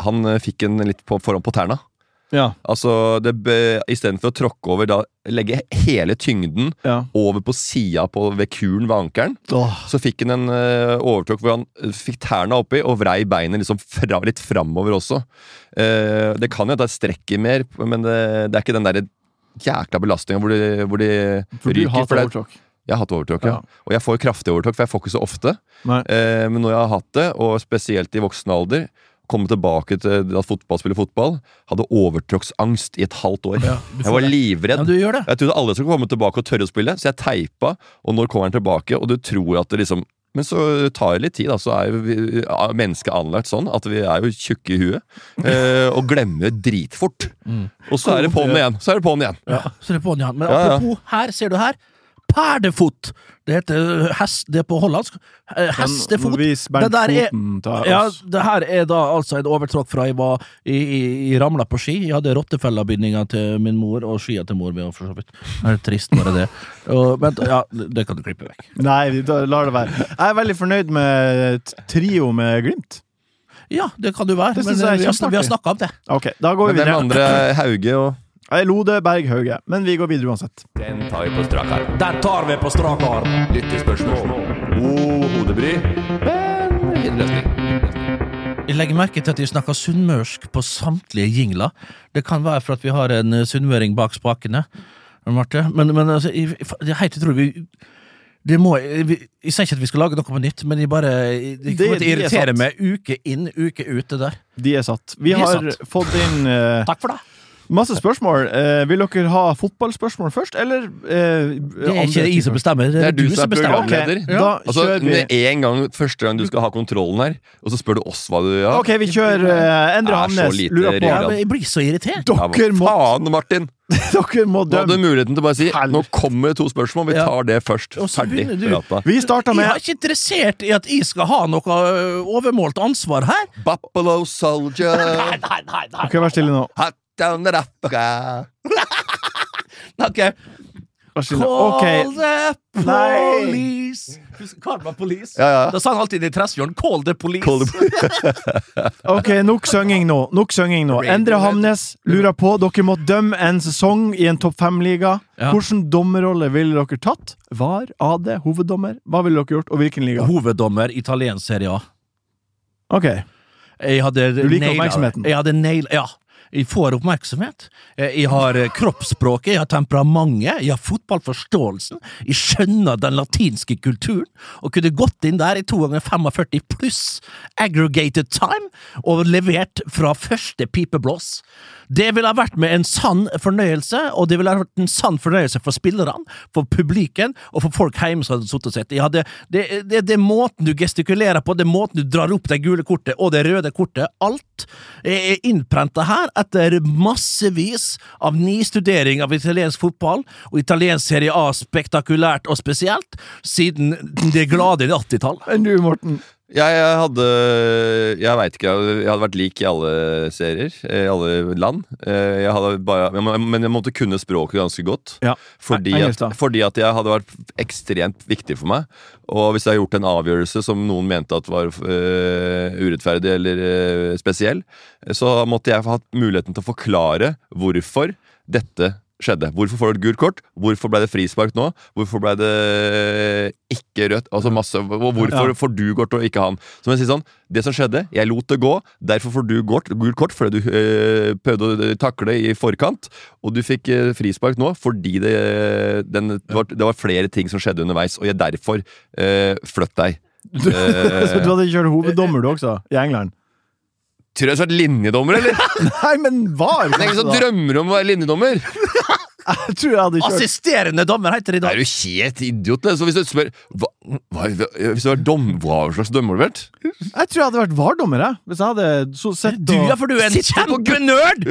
[SPEAKER 2] han eh, fikk en litt på, foran på tærne.
[SPEAKER 3] Ja.
[SPEAKER 2] Altså, det be- Istedenfor å tråkke over, da legge hele tyngden
[SPEAKER 3] Ja.
[SPEAKER 2] over på sida ved kulen ved ankelen,
[SPEAKER 3] Åh.
[SPEAKER 2] så fikk han en eh, overtråkk hvor han eh, fikk tærne oppi og vrei beinet liksom fra, litt framover også. Eh, det kan jo at det strekker mer, men det, det er ikke den der jækla belastninga hvor de, hvor de
[SPEAKER 3] For du
[SPEAKER 2] ryker.
[SPEAKER 3] hater
[SPEAKER 2] det er-
[SPEAKER 3] overtråkk.
[SPEAKER 2] jeg har hatt overtråkk, ja.
[SPEAKER 3] Ja.
[SPEAKER 2] Og jeg får kraftig overtråkk, for jeg får ikke så ofte.
[SPEAKER 3] Nei.
[SPEAKER 2] Eh, men når jeg har hatt det, og spesielt i voksen alder, komme tilbake til at fotball spiller fotball, hadde overtråkksangst i et halvt år. jeg var livredd.
[SPEAKER 1] Ja, du gjør det.
[SPEAKER 2] Jeg trodde alle skulle komme tilbake og tørre å spille, så jeg teipa. Og når kommer han tilbake, og du tror at det liksom men så tar det litt tid, da. Så er jo vi- er mennesket anlagt sånn at vi er jo tjukke i huet. Eh, og glemmer dritfort.
[SPEAKER 1] Mm.
[SPEAKER 2] Og så er det på'n igjen! Så er det på'n igjen.
[SPEAKER 1] Ja. Så det er på'n, ja. Men
[SPEAKER 2] Ja, ja.
[SPEAKER 1] apropos, her ser du her. Perdefot! Det heter hest, det er på hollandsk. Eh,
[SPEAKER 3] Nå
[SPEAKER 1] Hestefot.
[SPEAKER 3] viser Bernt
[SPEAKER 1] Det der er-
[SPEAKER 3] foten til
[SPEAKER 1] Ja,
[SPEAKER 3] oss.
[SPEAKER 1] det her er da altså en overtråkk fra jeg var i, i, i ramla på ski. Jeg hadde rottefellabindinga til min mor og skia til mor mi, og for så vidt. Det er trist, bare det. Og, men ja, det kan du klippe vekk.
[SPEAKER 3] Nei, vi tar- lar det være. Jeg er veldig fornøyd med t- trio med Glimt.
[SPEAKER 1] Ja, det kan du være,
[SPEAKER 3] Det
[SPEAKER 1] men
[SPEAKER 3] synes jeg
[SPEAKER 1] eh,
[SPEAKER 3] er
[SPEAKER 1] vi har, snak- vi har
[SPEAKER 3] kjempeartig.
[SPEAKER 1] snakka om det.
[SPEAKER 3] Ok, da går
[SPEAKER 2] Men
[SPEAKER 3] vi
[SPEAKER 2] hvem
[SPEAKER 3] videre.
[SPEAKER 2] andre er Hauge og
[SPEAKER 3] Jeg er Lode Berg Hauge, men vi går videre uansett.
[SPEAKER 2] Den tar vi på strak arm.
[SPEAKER 1] Den tar vi på strak arm.
[SPEAKER 2] Lyttespørsmål. God hodebry, men fin løsning.
[SPEAKER 1] Jeg legger merke til at de snakker sunnmørsk på samtlige jingler. Det kan være for at vi har en eh, sunnmøring bak spakene, Marte. Men, men altså, jeg, jeg- det er helt utrolig. Vi- det må, jeg, vi- jeg sier ikke at vi skal lage noe på nytt, men jeg bare jeg, jeg kommer
[SPEAKER 3] Det-
[SPEAKER 1] til å
[SPEAKER 3] det er
[SPEAKER 1] irritere
[SPEAKER 3] sant.
[SPEAKER 1] meg uke inn, uke ut. det der.
[SPEAKER 3] De er satt. Vi
[SPEAKER 1] De er
[SPEAKER 3] har
[SPEAKER 1] satt.
[SPEAKER 3] fått inn eh,
[SPEAKER 1] Takk for det!
[SPEAKER 3] masse spørsmål. Eh, vil dere ha fotballspørsmål først, eller eh,
[SPEAKER 1] Det er ikke jeg som bestemmer, det er, du, som bestemmer.
[SPEAKER 3] programleder. Ok,
[SPEAKER 2] Ja.
[SPEAKER 3] da
[SPEAKER 2] Altså,
[SPEAKER 3] kjører vi.
[SPEAKER 2] med en gang, første gang du skal ha kontrollen her, og så spør du oss hva du gjør.
[SPEAKER 3] Ok, vi kjører eh, Endre
[SPEAKER 2] Er så
[SPEAKER 3] Hamnes.
[SPEAKER 2] lite
[SPEAKER 3] Lurer på
[SPEAKER 1] Ja, men jeg blir så irritert!
[SPEAKER 2] Ja,
[SPEAKER 3] Dere
[SPEAKER 2] hva
[SPEAKER 3] må,
[SPEAKER 2] faen, Martin!
[SPEAKER 3] (laughs) dere må
[SPEAKER 2] Du hadde
[SPEAKER 3] dømme.
[SPEAKER 2] muligheten til å bare si
[SPEAKER 3] Helvete.
[SPEAKER 2] nå kommer det to spørsmål, vi
[SPEAKER 1] Ja.
[SPEAKER 2] tar det først.
[SPEAKER 1] Og så
[SPEAKER 2] Ferdig.
[SPEAKER 1] begynner du.
[SPEAKER 2] prata.
[SPEAKER 3] Vi starter
[SPEAKER 1] Jeg er
[SPEAKER 3] med
[SPEAKER 1] ikke interessert i at jeg skal ha noe ø, overmålt ansvar her.
[SPEAKER 2] Buffalo soldier,
[SPEAKER 1] (laughs) Nei, nei, nei.
[SPEAKER 3] Ok, Vær stille nå.
[SPEAKER 2] hot down the rafa.
[SPEAKER 1] Ok.
[SPEAKER 3] Vær stille.
[SPEAKER 1] Call
[SPEAKER 3] Ok,
[SPEAKER 1] the
[SPEAKER 3] Nei.
[SPEAKER 1] police! Husker Karma Police.
[SPEAKER 2] Ja, ja.
[SPEAKER 1] Da sa han alltid i Tresfjorden 'Call the police'.
[SPEAKER 2] Call the
[SPEAKER 3] ok, nok synging nå. Nok synging nå. Endre Hamnes lurer på Dere må dømme en sesong i en topp fem-liga.
[SPEAKER 1] Ja.
[SPEAKER 3] Hvilken dommerrolle ville dere tatt? Var AD hoveddommer? Hva ville dere gjort, og hvilken liga?
[SPEAKER 1] Hoveddommer italiensk serie A.
[SPEAKER 3] Ok,
[SPEAKER 1] Jeg hadde
[SPEAKER 3] Du liker
[SPEAKER 1] naila det.
[SPEAKER 3] oppmerksomheten.
[SPEAKER 1] Jeg hadde naila, ja. Jeg får oppmerksomhet. Eh, Jeg har eh, kroppsspråket, jeg har temperamentet, jeg har fotballforståelsen. Jeg skjønner den latinske kulturen, og kunne gått inn der i 2 ganger 45 pluss aggregated time og levert fra første pipeblås. Det ville ha vært med en sann fornøyelse, og det ville ha vært en sann fornøyelse for spillerne, for publiken og for folk hjemme som hadde sittet og sett. Jeg hadde, det, det, det er måten du gestikulerer på, det er måten du drar opp det gule kortet og det røde kortet. Alt er innprenta her etter massevis av nistudering av italiensk fotball og italiensk Serie A spektakulært og spesielt siden det glade 80-tallet.
[SPEAKER 3] Enn du,
[SPEAKER 1] (laughs)
[SPEAKER 3] Morten?
[SPEAKER 2] Jeg, jeg hadde Jeg veit ikke. Jeg jeg hadde vært lik i alle serier. eh, I alle land. Eh, Jeg hadde bare, jeg må- men jeg måtte kunne språket ganske godt.
[SPEAKER 3] Ja.
[SPEAKER 2] Fordi,
[SPEAKER 3] Nei, engelsk,
[SPEAKER 2] at,
[SPEAKER 3] da.
[SPEAKER 2] fordi at jeg hadde vært ekstremt viktig for meg. Og hvis jeg har gjort en avgjørelse som noen mente at var eh, urettferdig eller eh, spesiell, så måtte jeg ha hatt muligheten til å forklare hvorfor dette skjedde. Hvorfor får du et gult kort? Hvorfor ble det frispark nå? Hvorfor ble det Eh, ikke rødt? Altså masse, og hvorfor
[SPEAKER 3] Ja.
[SPEAKER 2] får du gult og ikke han? Så må jeg si sånn, det som skjedde, jeg lot det gå, derfor får du gult, gult kort fordi du øh, prøvde å takle i forkant, og du fikk øh, frispark nå fordi det, eh, den, det, var, det var flere ting som skjedde underveis, og jeg derfor øh, fløtt deg.
[SPEAKER 3] Du,
[SPEAKER 1] Eh.
[SPEAKER 3] så du hadde kjørt hoveddommer, du også, i England?
[SPEAKER 2] Tror du jeg har vært linjedommer, eller?
[SPEAKER 3] Nei, men var
[SPEAKER 2] Det er ingen som
[SPEAKER 3] kanskje da.
[SPEAKER 2] drømmer om å være linjedommer!
[SPEAKER 3] Jeg tror jeg hadde kjørt
[SPEAKER 1] Assisterende dommer heter det i dag.
[SPEAKER 2] Er du helt idiot? eller? Så hvis du spør hva, hva, Hvis du var dom, hva slags dømmer du vært?
[SPEAKER 3] Jeg tror jeg hadde vært VAR-dommer, jeg. Hvis jeg hadde så sett
[SPEAKER 1] Du, ja, for du er en
[SPEAKER 2] Sitter på gutt-
[SPEAKER 1] kjempenerd!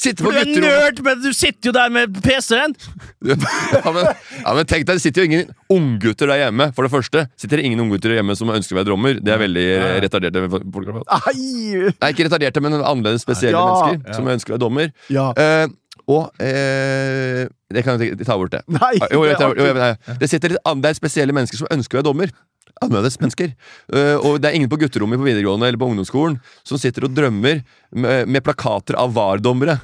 [SPEAKER 2] Sitte på
[SPEAKER 1] For du er
[SPEAKER 2] gutterommet
[SPEAKER 1] nerd, men du sitter jo der med PC-en!
[SPEAKER 2] (laughs) ja, men, ja, men tenk deg, det sitter jo ingen unggutter der hjemme, for det første. Sitter det ingen unggutter der hjemme som ønsker å være drommer? Det er veldig eh, retarderte folk.
[SPEAKER 3] Nei!
[SPEAKER 2] Nei, ikke retarderte, men annerledes spesielle
[SPEAKER 3] Ja.
[SPEAKER 2] mennesker som ønsker å være dommer.
[SPEAKER 3] Ja.
[SPEAKER 2] Eh, og eh, Det kan jeg ikke ta bort, det.
[SPEAKER 3] Nei,
[SPEAKER 2] Ja, jo,
[SPEAKER 3] det er
[SPEAKER 2] jeg tar- jo, jeg- nei. Det sitter litt an, det er spesielle mennesker som ønsker å være dommer. Annerledes mennesker. Eh, og det er ingen på gutterommet på videregående eller på ungdomsskolen som sitter og drømmer med, med plakater av VAR-dommere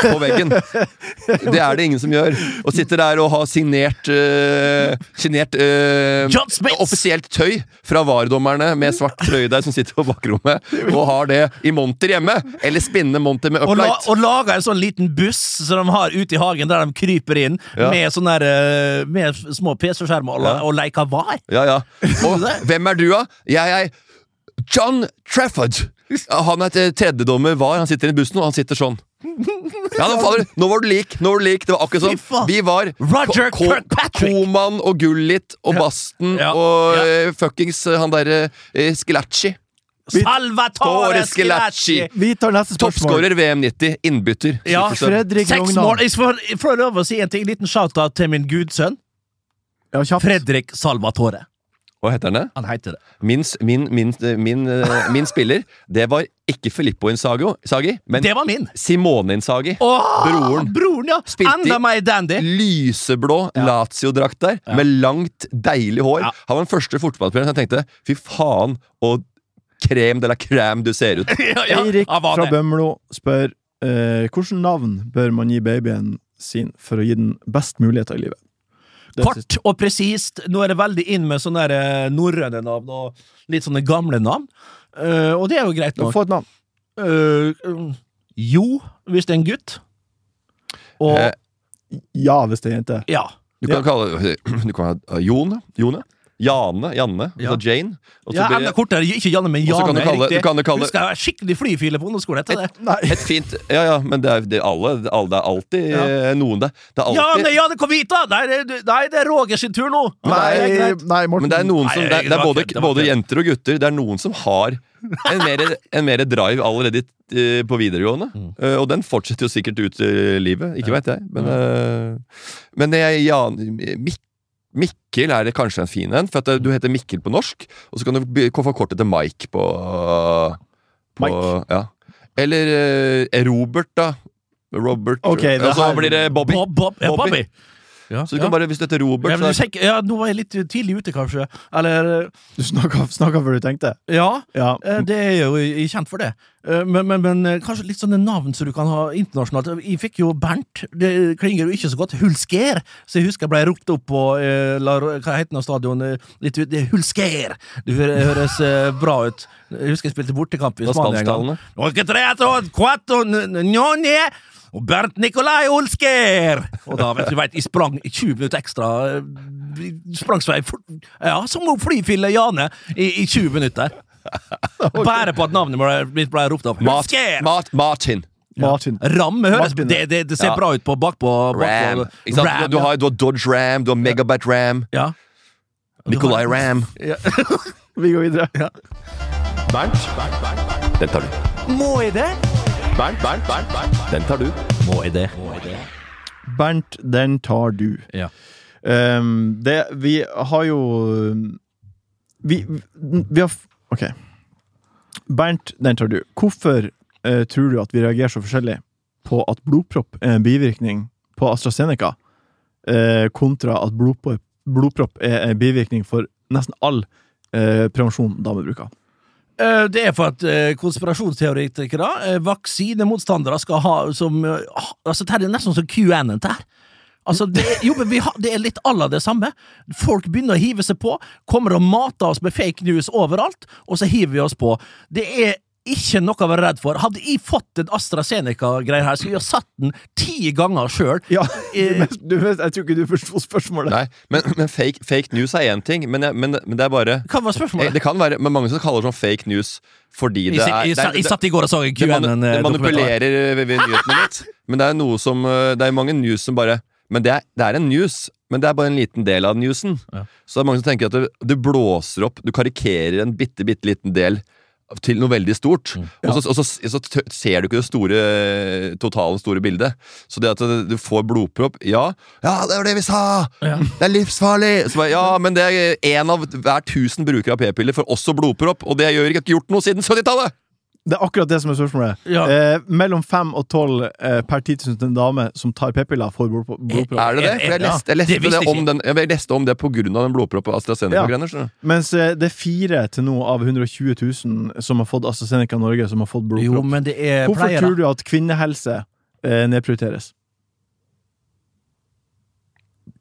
[SPEAKER 2] på veggen. Det er det ingen som gjør. Og sitter der og har signert eh, Signert eh,
[SPEAKER 1] John Smith!
[SPEAKER 2] offisielt tøy fra VAR-dommerne med svart trøye der som sitter på bakrommet og har det i monter hjemme. Eller spinnende monter med
[SPEAKER 1] Og, la,
[SPEAKER 2] uplight.
[SPEAKER 1] og laga en sånn liten buss som de har ute i hagen, der de kryper inn
[SPEAKER 2] Ja.
[SPEAKER 1] med sånne der, eh, med små PC-skjermer og, la- og leker var.
[SPEAKER 2] Ja,
[SPEAKER 1] (laughs)
[SPEAKER 2] ja. Og hvem er du, da? Jeg er John Trafford. Ja, Han er et tredjedommer var. Han sitter i bussen, og han sitter sånn. Ja, nå, fader, nå var du lik! nå var du lik Det var akkurat
[SPEAKER 1] Fy faen.
[SPEAKER 2] sånn. Vi var
[SPEAKER 1] Roger
[SPEAKER 2] Ko- Ko-
[SPEAKER 1] Kirkpatrick.
[SPEAKER 2] Koman og Gullit og Basten
[SPEAKER 1] Ja.
[SPEAKER 2] og
[SPEAKER 1] Ja.
[SPEAKER 2] eh, fuckings eh, han derre eh, Skilacci.
[SPEAKER 1] Salvatore
[SPEAKER 2] Tore Schillaci.
[SPEAKER 1] Schillaci!
[SPEAKER 3] Vi tar neste spørsmål.
[SPEAKER 2] Toppskårer VM90. Innbytter. sånn.
[SPEAKER 1] Ja,
[SPEAKER 2] Supersub.
[SPEAKER 3] Fredrik
[SPEAKER 1] Seks
[SPEAKER 3] Rognan.
[SPEAKER 1] mål! Jeg får, jeg får lov å si en ting. En liten shout-out til min gudsønn.
[SPEAKER 3] Ja, kjapt.
[SPEAKER 1] Fredrik Salvatore.
[SPEAKER 2] Hva heter han? det?
[SPEAKER 1] Han heter det.
[SPEAKER 2] Min, s- min, min, eh, min, eh, min spiller, det var ikke Filippo Insago, Sagi, men
[SPEAKER 1] Det var min!
[SPEAKER 2] Simone Insagi.
[SPEAKER 1] Åh,
[SPEAKER 2] Broren.
[SPEAKER 1] Broren, ja!
[SPEAKER 2] Spilte i-
[SPEAKER 1] Enda mer dandy!
[SPEAKER 2] lyseblå Lazio-drakt der, med langt, deilig hår. Han var den første fotballspilleren som jeg tenkte fy faen, og krem de la crème du
[SPEAKER 1] (laughs)
[SPEAKER 2] ser ut.
[SPEAKER 1] Ja, ja,
[SPEAKER 3] Eirik
[SPEAKER 1] han var
[SPEAKER 3] fra
[SPEAKER 1] det.
[SPEAKER 3] Bømlo spør eh, hvilket navn bør man gi babyen sin for å gi den best muligheter i livet. Det er siste.
[SPEAKER 1] Kort og presist. Nå er det veldig inn med sånne der, eh, norrøne navn og litt sånne gamle navn. Eh, og det er jo greit nok.
[SPEAKER 3] Få et navn.
[SPEAKER 1] Eh, um, jo, hvis det er en gutt. Og
[SPEAKER 2] Eh.
[SPEAKER 3] Ja, hvis det er jente.
[SPEAKER 1] ja.
[SPEAKER 2] Du kan kalle (clears throat) du kan ha eh, Jone, Jone Jane, Janne, altså Jane. Og så
[SPEAKER 1] Ja,
[SPEAKER 2] blir
[SPEAKER 1] enda
[SPEAKER 2] det-
[SPEAKER 1] kortere. Ikke Janne, men
[SPEAKER 2] Og så
[SPEAKER 1] Jane.
[SPEAKER 2] kan du kalle-
[SPEAKER 1] riktig.
[SPEAKER 2] du kan jo kalle-
[SPEAKER 1] Hun skal være skikkelig flyfile på ungdomsskolen etter det.
[SPEAKER 2] et fint Ja, ja, men det er, det er alle. Det er alle- det er alltid eh, noen der. Det er alltid
[SPEAKER 1] Jane, Jane, kom hit, da! Nei, det, er- nei, det er Roger sin tur nå!
[SPEAKER 2] Nei,
[SPEAKER 1] det er greit.
[SPEAKER 3] Nei, Morten.
[SPEAKER 2] Men det er noen som
[SPEAKER 1] Nei,
[SPEAKER 2] Det er, det
[SPEAKER 1] det
[SPEAKER 2] er
[SPEAKER 1] var
[SPEAKER 2] både,
[SPEAKER 1] kødd, det var
[SPEAKER 2] både
[SPEAKER 1] kødd.
[SPEAKER 2] jenter og gutter. Det er noen som har en mer, en mer drive allerede eh, på videregående.
[SPEAKER 3] Mm.
[SPEAKER 2] Eh, Og den fortsetter jo sikkert ut i livet. Ikke vet jeg. Men, eh, men jeg, Jan, Mik Mikkel er det kanskje en fin en. For at
[SPEAKER 3] Mm.
[SPEAKER 2] det- du heter Mikkel på norsk, og så kan du by- få kortet til Mike på, på
[SPEAKER 3] Mike.
[SPEAKER 2] Ja. Eller eh, Robert, da. Robert.
[SPEAKER 3] Ok, det
[SPEAKER 2] og så
[SPEAKER 3] her-
[SPEAKER 2] blir det Bobby.
[SPEAKER 1] Bob, Bob, ja,
[SPEAKER 2] Bobby.
[SPEAKER 1] Bobby. Ja,
[SPEAKER 2] Så du kan bare, hvis du heter Robert
[SPEAKER 1] ja,
[SPEAKER 2] så er-
[SPEAKER 1] men du tenker, ja, Nå var jeg litt tidlig ute, kanskje. Eller
[SPEAKER 3] Du snakka, snakka før du tenkte.
[SPEAKER 1] Ja.
[SPEAKER 3] Ja.
[SPEAKER 1] eh, Det er jo jeg er kjent for det. Eh, Men, men, men eh, kanskje litt sånne navn som du kan ha internasjonalt. Jeg fikk jo Bernt. Det klinger jo ikke så godt. Hulsker! Så jeg husker jeg ble ropt opp på eh, La, Hva heter det stadionet? eh, Litt ut, det er Hulsker! Det hø- høres eh, bra ut. Jeg husker jeg spilte bortekamp i
[SPEAKER 2] Det var
[SPEAKER 1] Spania en gang.
[SPEAKER 2] spansktalende.
[SPEAKER 1] Og que tres og cuatro, n- n- nonne, og Bernt Nikolai Olsker! Og da, vet du vet, jeg sprang 20 minutter ekstra. eh, Sprang så jeg fort- Ja, som å flyfille Jane i, i 20
[SPEAKER 2] (laughs)
[SPEAKER 1] minutter. Bare på at navnet ble- mitt ble ropt opp.
[SPEAKER 2] Mart,
[SPEAKER 1] Hulsker!
[SPEAKER 2] Mart, Martin.
[SPEAKER 3] Martin.
[SPEAKER 1] Ram høres
[SPEAKER 3] Martin,
[SPEAKER 1] det, det, det ser
[SPEAKER 2] ja.
[SPEAKER 1] bra ut på bakpå.
[SPEAKER 2] Ram.
[SPEAKER 1] bakpå-
[SPEAKER 2] Ikke sant?
[SPEAKER 1] Ram,
[SPEAKER 2] du, har, du har Dodge Ram, du har Megabyte Ram,
[SPEAKER 1] ja.
[SPEAKER 2] Nicolay Ram.
[SPEAKER 3] Vi går videre.
[SPEAKER 2] Bernt, den tar du. Må jeg det? Bernt, Bernt, Bernt, den tar du.
[SPEAKER 1] Må jeg det?
[SPEAKER 3] Bernt, den tar du.
[SPEAKER 1] Ja.
[SPEAKER 3] Ehm, det Vi har jo Vi, vi har f- OK. Bernt, den tar du. Hvorfor eh, tror du at vi reagerer så forskjellig på at blodpropp er en bivirkning på AstraZeneca, eh, kontra at blodpropp, blodpropp er en bivirkning for nesten all eh, prevensjon damer bruker?
[SPEAKER 1] Eh, Det er for at eh, konspirasjonsteoretikere, eh, vaksinemotstandere, skal ha som eh, ah, Altså, dette er nesten som QAnon. dette her. Altså, det, er- jo, men vi har, det er litt à la det samme. Folk begynner å hive seg på. Kommer og mater oss med fake news overalt, og så hiver vi oss på. Det er ikke noe å være redd for. Hadde jeg fått en AstraZeneca-greie her, skulle jeg ha satt den ti ganger sjøl.
[SPEAKER 3] Ja,
[SPEAKER 1] Eh.
[SPEAKER 3] men du, men jeg tror ikke du forsto spørsmålet.
[SPEAKER 2] Nei, men, men fake, fake news er én ting, men, jeg, men, men det er bare
[SPEAKER 1] Hva var
[SPEAKER 2] eh,
[SPEAKER 1] spørsmålet?
[SPEAKER 2] Det kan være men mange som kaller sånn fake news fordi
[SPEAKER 1] Jeg,
[SPEAKER 2] det er
[SPEAKER 1] jeg,
[SPEAKER 2] det er-
[SPEAKER 1] jeg, jeg satt i går og så en eh,
[SPEAKER 2] det manu- det
[SPEAKER 1] QAnon-dokumentar.
[SPEAKER 2] manipulerer eh, ved, ved nyhetene litt. Men det er noe som eh, Det er mange news som bare Men det er, det er en news, men det er bare en liten del av newsen. Så det er mange som tenker at du, du blåser opp, du karikerer en bitte, bitte liten del til noe veldig stort. Og, så, og så, så t- ser du ikke det store eh, totale store bildet. Så det at eh, du får blodpropp Ja, ja det var det vi sa! Det er livsfarlig! Så bare, ja, men det er én av hver tusen brukere av p-piller får også blodpropp, og det gjør ikke gjort noe siden 70-tallet!
[SPEAKER 3] Det er akkurat det som er spørsmålet.
[SPEAKER 1] Ja.
[SPEAKER 3] Eh, mellom fem og tolv eh, per 10 000 til en dame som tar p-piller, får blod- blodpropp.
[SPEAKER 2] Er det det? For
[SPEAKER 1] Eh,
[SPEAKER 2] jeg
[SPEAKER 1] Ja,
[SPEAKER 2] leste, jeg
[SPEAKER 1] det
[SPEAKER 2] leste, det,
[SPEAKER 1] visste jeg
[SPEAKER 2] om
[SPEAKER 1] ikke.
[SPEAKER 2] den, jeg leste om det på grunn av den blodproppen AstraZeneca-greiene. skjønner du?
[SPEAKER 3] Mens eh, det er fire til nå av 120 000 som har fått AstraZeneca Norge, som har fått
[SPEAKER 1] Jo,
[SPEAKER 3] blodpropp.
[SPEAKER 1] men det er
[SPEAKER 3] Hvorfor
[SPEAKER 1] pleiere.
[SPEAKER 3] tror du at kvinnehelse eh, nedprioriteres?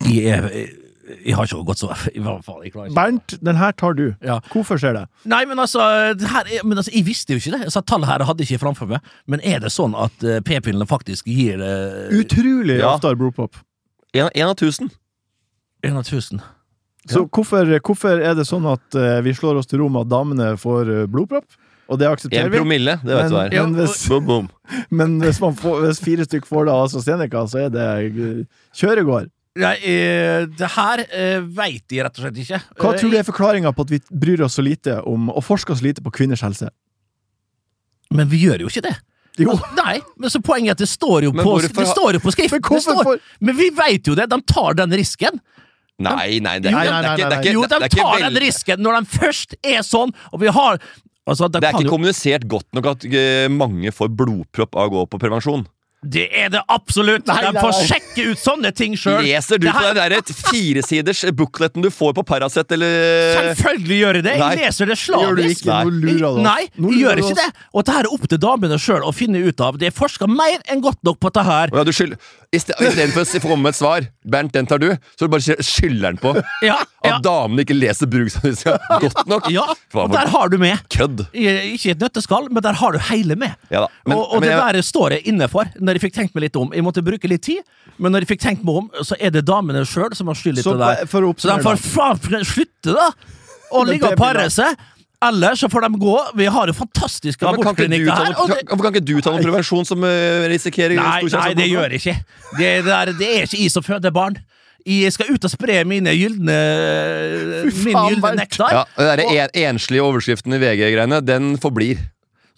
[SPEAKER 1] Jeg, er- jeg, eh, jeg har ikke gått så I hvert fall, jeg klarer ikke.
[SPEAKER 3] Bernt, den her tar du.
[SPEAKER 1] Ja.
[SPEAKER 3] Hvorfor skjer det?
[SPEAKER 1] Nei, men altså, det her er, men altså Jeg visste jo ikke det. Så tallet her hadde jeg ikke framfor meg. Men er det sånn at eh, p-pillene faktisk gir eh, det
[SPEAKER 3] Utrolig
[SPEAKER 2] Ja.
[SPEAKER 3] ofte har blodpropp.
[SPEAKER 2] En, en av tusen.
[SPEAKER 1] 1 av 1000?
[SPEAKER 3] Så hvorfor, hvorfor er det sånn at eh, vi slår oss til ro med at damene får eh, blodpropp? Og det
[SPEAKER 2] En
[SPEAKER 3] aksepterer vi.
[SPEAKER 2] promille, det vet du hva er.
[SPEAKER 3] Men, men, hvis,
[SPEAKER 2] Boom, boom.
[SPEAKER 3] men hvis, man får, hvis fire stykk får det av AstraZeneca, så er det eh, kjøregård.
[SPEAKER 1] Nei, eh, det her eh, veit jeg rett og slett ikke.
[SPEAKER 3] Hva
[SPEAKER 1] Eh,
[SPEAKER 3] tror du er forklaringa på at vi bryr oss så lite om og forsker så lite på kvinners helse?
[SPEAKER 1] Men vi gjør jo ikke det.
[SPEAKER 3] Jo.
[SPEAKER 1] Altså, Nei, men så poenget er at det står jo,
[SPEAKER 2] Men
[SPEAKER 1] på,
[SPEAKER 2] hvorfor
[SPEAKER 1] det
[SPEAKER 2] har-
[SPEAKER 1] står jo på skrift.
[SPEAKER 3] Men
[SPEAKER 1] Men,
[SPEAKER 3] hvorfor
[SPEAKER 1] det står,
[SPEAKER 3] får-
[SPEAKER 1] men vi veit jo det! De tar den risken.
[SPEAKER 2] Nei, nei, det er
[SPEAKER 3] Jo,
[SPEAKER 2] ikke-
[SPEAKER 3] nei, nei,
[SPEAKER 2] det er ikke- det er
[SPEAKER 3] nei,
[SPEAKER 2] ikke-
[SPEAKER 1] Jo,
[SPEAKER 2] det er
[SPEAKER 1] de
[SPEAKER 2] ikke
[SPEAKER 1] tar
[SPEAKER 2] vel-
[SPEAKER 1] den risken når de først er sånn, og vi har Altså, de
[SPEAKER 2] Det er
[SPEAKER 1] kan
[SPEAKER 2] ikke
[SPEAKER 1] jo
[SPEAKER 2] kommunisert godt nok at eh, mange får blodpropp av å gå på prevensjon.
[SPEAKER 1] Det er det absolutt!
[SPEAKER 3] nei,
[SPEAKER 1] de får
[SPEAKER 3] nei.
[SPEAKER 1] sjekke ut sånne ting sjøl.
[SPEAKER 2] Leser du på den der firesiders bookleten du får på Paracet, eller
[SPEAKER 1] Selvfølgelig gjør jeg det!
[SPEAKER 2] Nei.
[SPEAKER 1] Jeg leser det
[SPEAKER 3] Gjør du
[SPEAKER 1] slavisk.
[SPEAKER 3] ikke? Nå lurer du oss.
[SPEAKER 1] Nei,
[SPEAKER 3] Nå
[SPEAKER 1] jeg
[SPEAKER 3] lurer
[SPEAKER 1] gjør
[SPEAKER 3] du
[SPEAKER 1] ikke
[SPEAKER 3] oss.
[SPEAKER 1] det! Og det her er opp til damene sjøl å finne ut av. Det er forska mer enn godt nok på det her.
[SPEAKER 2] Å ja, du skyld... Istedenfor å si- komme med et svar, Bernt, den tar du, så bare skyld- skylder den på at
[SPEAKER 1] Ja, ja,
[SPEAKER 2] damene ikke leser bruksanvisninga godt nok.
[SPEAKER 1] ja.
[SPEAKER 2] Hva
[SPEAKER 1] Og
[SPEAKER 2] for
[SPEAKER 1] der har du med.
[SPEAKER 2] kødd?
[SPEAKER 1] I- Ikke i et nøtteskall, men der har du hele med.
[SPEAKER 2] Ja da, men-
[SPEAKER 1] og, og
[SPEAKER 2] men
[SPEAKER 1] det
[SPEAKER 2] jeg-
[SPEAKER 1] der står jeg inne for. Det når jeg fikk tenkt meg litt om Jeg måtte bruke litt tid, men når jeg fikk tenkt meg om, så er det damene sjøl som har skyld i
[SPEAKER 5] Så
[SPEAKER 1] det der.
[SPEAKER 5] på- for å
[SPEAKER 1] Så de
[SPEAKER 5] oppsummere
[SPEAKER 1] får
[SPEAKER 5] da.
[SPEAKER 1] faen slutte, da! Å
[SPEAKER 5] Det-
[SPEAKER 1] ligge
[SPEAKER 5] det blir
[SPEAKER 1] og pare
[SPEAKER 5] bra.
[SPEAKER 1] seg. Eller så får de gå. Vi har jo fantastiske
[SPEAKER 2] Ja, men kan, ikke
[SPEAKER 1] abortklinikker
[SPEAKER 2] du ta
[SPEAKER 1] her.
[SPEAKER 2] noe,
[SPEAKER 1] Og det,
[SPEAKER 2] kan, hvorfor kan ikke du ta noe prevensjon som eh, risikerer
[SPEAKER 1] Nei, nei, det gjør jeg ikke. Det, der, det er ikke jeg som føder barn. Jeg skal ut og spre mine gyldne Min
[SPEAKER 5] faen,
[SPEAKER 1] gyldne
[SPEAKER 5] Bernt.
[SPEAKER 1] nektar.
[SPEAKER 2] Ja, den der en, enslige overskriften i VG-greiene, den forblir.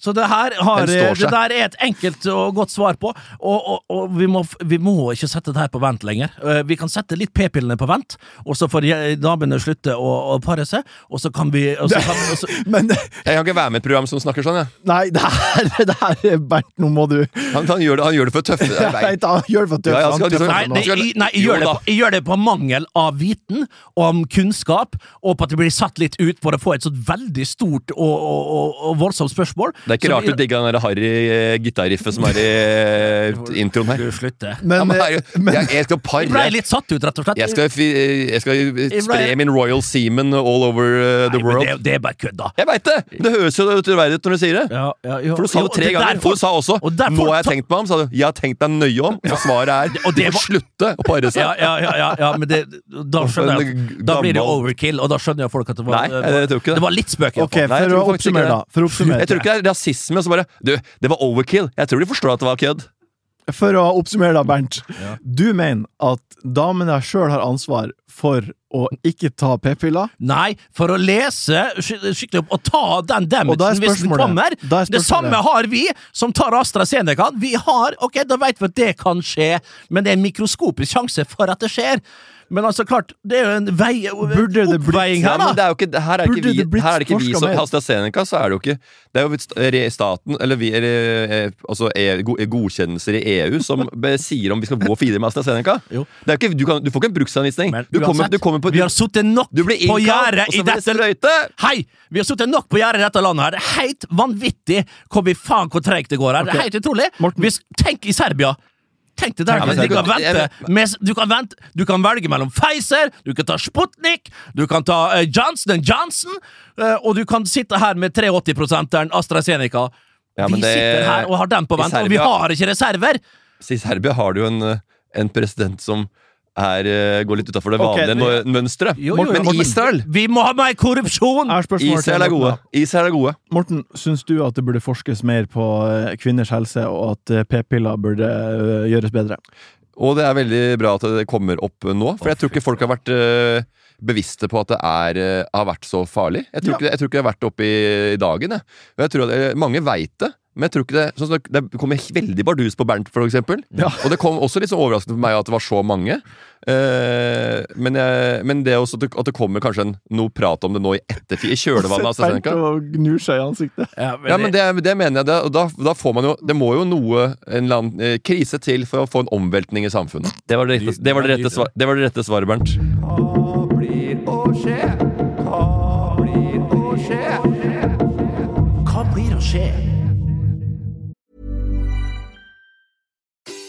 [SPEAKER 1] Så det her har,
[SPEAKER 2] Den står
[SPEAKER 1] det
[SPEAKER 2] seg.
[SPEAKER 1] der er et enkelt og godt svar på. Og, og, og vi, må, vi må ikke sette det her på vent lenger. Eh, Vi kan sette litt p-pillene på vent, og så får je- damene slutte å, å pare seg. Og så kan vi og så kan, og
[SPEAKER 2] (laughs)
[SPEAKER 1] så,
[SPEAKER 5] Men (laughs)
[SPEAKER 2] Jeg kan ikke være med i et program som snakker sånn. Jeg.
[SPEAKER 5] nei, det her, (laughs) det her er Bernt, nå må du
[SPEAKER 2] Han, han, gjør det, han gjør det for
[SPEAKER 5] (laughs)
[SPEAKER 2] tøffe. (laughs) Jeg
[SPEAKER 5] Jeg vet,
[SPEAKER 2] vet.
[SPEAKER 5] han gjør det for tøft.
[SPEAKER 2] Ja, jeg skal
[SPEAKER 5] han
[SPEAKER 2] liksom-
[SPEAKER 5] tøffer
[SPEAKER 1] Nei,
[SPEAKER 5] nå.
[SPEAKER 1] det,
[SPEAKER 2] skal-
[SPEAKER 1] jeg, nei jeg, gjør
[SPEAKER 2] Jo
[SPEAKER 1] det
[SPEAKER 2] da.
[SPEAKER 1] på, jeg gjør det på mangel av viten, om kunnskap, og på at det blir satt litt ut for å få et så veldig stort og, og, og, og voldsomt spørsmål.
[SPEAKER 2] Det er ikke
[SPEAKER 1] Så
[SPEAKER 2] rart
[SPEAKER 1] vi-
[SPEAKER 2] du digga den der harry eh, gitarriffet som er i eh, introen her.
[SPEAKER 1] Du slutter.
[SPEAKER 2] Ja,
[SPEAKER 5] Men,
[SPEAKER 2] men, herregud, jeg, jeg skal
[SPEAKER 1] Jeg ble
[SPEAKER 2] pare.
[SPEAKER 1] litt satt ut, rett og slett.
[SPEAKER 2] Jeg skal, fi- jeg skal spre
[SPEAKER 1] ble-
[SPEAKER 2] min royal semen all over eh, the
[SPEAKER 1] Nei, men
[SPEAKER 2] world.
[SPEAKER 1] det, det er bare kødd, da.
[SPEAKER 2] Jeg veit det! Det høres jo utroverdig ut når du sier det.
[SPEAKER 1] Ja, ja, jo.
[SPEAKER 2] For du sa
[SPEAKER 1] Jo,
[SPEAKER 2] jo tre
[SPEAKER 1] det er
[SPEAKER 2] ganger.
[SPEAKER 1] derfor-
[SPEAKER 2] Og du sa også
[SPEAKER 1] og derfor-
[SPEAKER 2] 'nå har jeg tenkt meg om'. Sa du 'jeg har tenkt deg nøye om'. Og svaret er
[SPEAKER 1] og det
[SPEAKER 2] du får slutte å pare seg.
[SPEAKER 1] Ja, ja, ja, ja, ja men det, da skjønner jeg at- Da blir det
[SPEAKER 2] Gammel.
[SPEAKER 1] overkill, og da skjønner jo folk at det var
[SPEAKER 2] Nei, jeg tror ikke det.
[SPEAKER 1] var litt spøk. i hvert
[SPEAKER 5] Ok,
[SPEAKER 1] fall.
[SPEAKER 2] Nei, jeg
[SPEAKER 5] for å
[SPEAKER 2] tror faktisk ikke
[SPEAKER 5] oppsummere,
[SPEAKER 2] det.
[SPEAKER 5] da. For å oppsummere,
[SPEAKER 2] Jeg tror ikke det er rasisme. Så bare Du, det var overkill. Jeg tror de forstår at det var kødd.
[SPEAKER 5] for å oppsummere da, Bernt. Du mener at damene sjøl har ansvar for å ikke ta p-piller?
[SPEAKER 1] Nei, for å lese sk- skikkelig opp og ta den
[SPEAKER 5] Og da er
[SPEAKER 1] damagen hvis den
[SPEAKER 5] spørsmålet-
[SPEAKER 1] kommer.
[SPEAKER 5] da er
[SPEAKER 1] Det samme
[SPEAKER 5] spørsmålet-
[SPEAKER 1] har vi som tar AstraZeneca. Vi har, ok, da vet vi at det kan skje, men det er en mikroskopisk sjanse for at det skjer. Men altså, klart, det er jo en vei,
[SPEAKER 5] Burde det blitt-
[SPEAKER 1] oppveiing
[SPEAKER 2] Ja,
[SPEAKER 1] her,
[SPEAKER 2] men
[SPEAKER 1] da.
[SPEAKER 2] det er jo ikke, her er ikke
[SPEAKER 5] Burde
[SPEAKER 2] vi,
[SPEAKER 5] det blitt
[SPEAKER 2] her er det ikke vi
[SPEAKER 5] forsket
[SPEAKER 2] som
[SPEAKER 5] mer?
[SPEAKER 2] AstraZeneca, så er det jo ikke Det er jo st- re- staten, eller vi, eh, eh, altså eh, go- eh, godkjennelser i EU, som be- sier om vi skal gå videre med AstraZeneca.
[SPEAKER 1] Jo.
[SPEAKER 2] Det er jo ikke, du, kan, du får ikke en bruksanvisning.
[SPEAKER 1] Men
[SPEAKER 2] Du kommer,
[SPEAKER 1] uansett,
[SPEAKER 2] du kommer på
[SPEAKER 1] vi har sittet nok
[SPEAKER 2] Du blir
[SPEAKER 1] på
[SPEAKER 2] innkalt,
[SPEAKER 1] gjerdet
[SPEAKER 2] og
[SPEAKER 1] i
[SPEAKER 2] så blir det
[SPEAKER 1] dette
[SPEAKER 2] sprøyte!
[SPEAKER 1] Hei! Vi har sittet nok på gjerdet i dette landet. her Det er Helt vanvittig hvor vi faen hvor treigt det går her. Det er helt utrolig.
[SPEAKER 5] Morten.
[SPEAKER 1] Hvis, tenk i Serbia. Tenk det der,
[SPEAKER 2] Ja, men
[SPEAKER 1] du,
[SPEAKER 2] det er
[SPEAKER 1] kan
[SPEAKER 2] godt.
[SPEAKER 1] vente,
[SPEAKER 2] Jeg-
[SPEAKER 1] med, du kan vente Du kan velge mellom Pfizer, du kan ta Sputnik, du kan ta eh, Johnson Johnson, eh, og du kan sitte her med 83-prosenteren AstraZeneca.
[SPEAKER 2] Ja,
[SPEAKER 1] vi
[SPEAKER 2] men det-
[SPEAKER 1] sitter her og har den på
[SPEAKER 2] i
[SPEAKER 1] vent, og vi
[SPEAKER 2] Serbia-
[SPEAKER 1] har ikke reserver!
[SPEAKER 2] Så I Serbia har du jo en, eh, en president som er, eh, går litt utafor det
[SPEAKER 5] Ok,
[SPEAKER 2] vanlige
[SPEAKER 5] det-
[SPEAKER 2] no- mønsteret.
[SPEAKER 1] Jo, jo, jo,
[SPEAKER 2] Men
[SPEAKER 1] Morten.
[SPEAKER 2] Israel
[SPEAKER 1] Vi må ha mer korrupsjon!
[SPEAKER 5] Jeg har spørsmål til
[SPEAKER 2] Israel er
[SPEAKER 5] Morten,
[SPEAKER 2] gode.
[SPEAKER 5] da.
[SPEAKER 2] Israel er gode.
[SPEAKER 5] Morten, syns du at det burde forskes mer på eh, kvinners helse, og at eh, p-piller burde eh, gjøres bedre?
[SPEAKER 2] Og det er veldig bra at det kommer opp nå, for jeg tror ikke folk har vært eh, bevisste på at det er, eh, har vært så farlig. Jeg tror,
[SPEAKER 5] Ja.
[SPEAKER 2] ikke, jeg tror ikke det har vært oppe i, i dagen. Jeg. Og jeg tror at, eh, mange veit det. Men jeg tror ikke det, sånn som det det kommer veldig bardus på Bernt, for eksempel. Og det kom også litt sånn overraskende for meg at det var så mange. Eh, men, jeg, men det er også at det, at det kommer kanskje en, noe prat om det nå i ettertid, i kjølvannet av
[SPEAKER 5] Bernt
[SPEAKER 2] AstraZeneca.
[SPEAKER 5] og gnur seg i ansiktet.
[SPEAKER 1] Ja,
[SPEAKER 2] Ja, men det, det mener jeg. Det, og da, da får man jo Det må jo noe en eller annen eh, krise til for å få en omveltning i samfunnet. Det var det rette, det var det rette, svar, det var det rette svaret, Bernt.
[SPEAKER 4] Hva blir å skje? Hva blir å skje?
[SPEAKER 1] Hva blir å skje?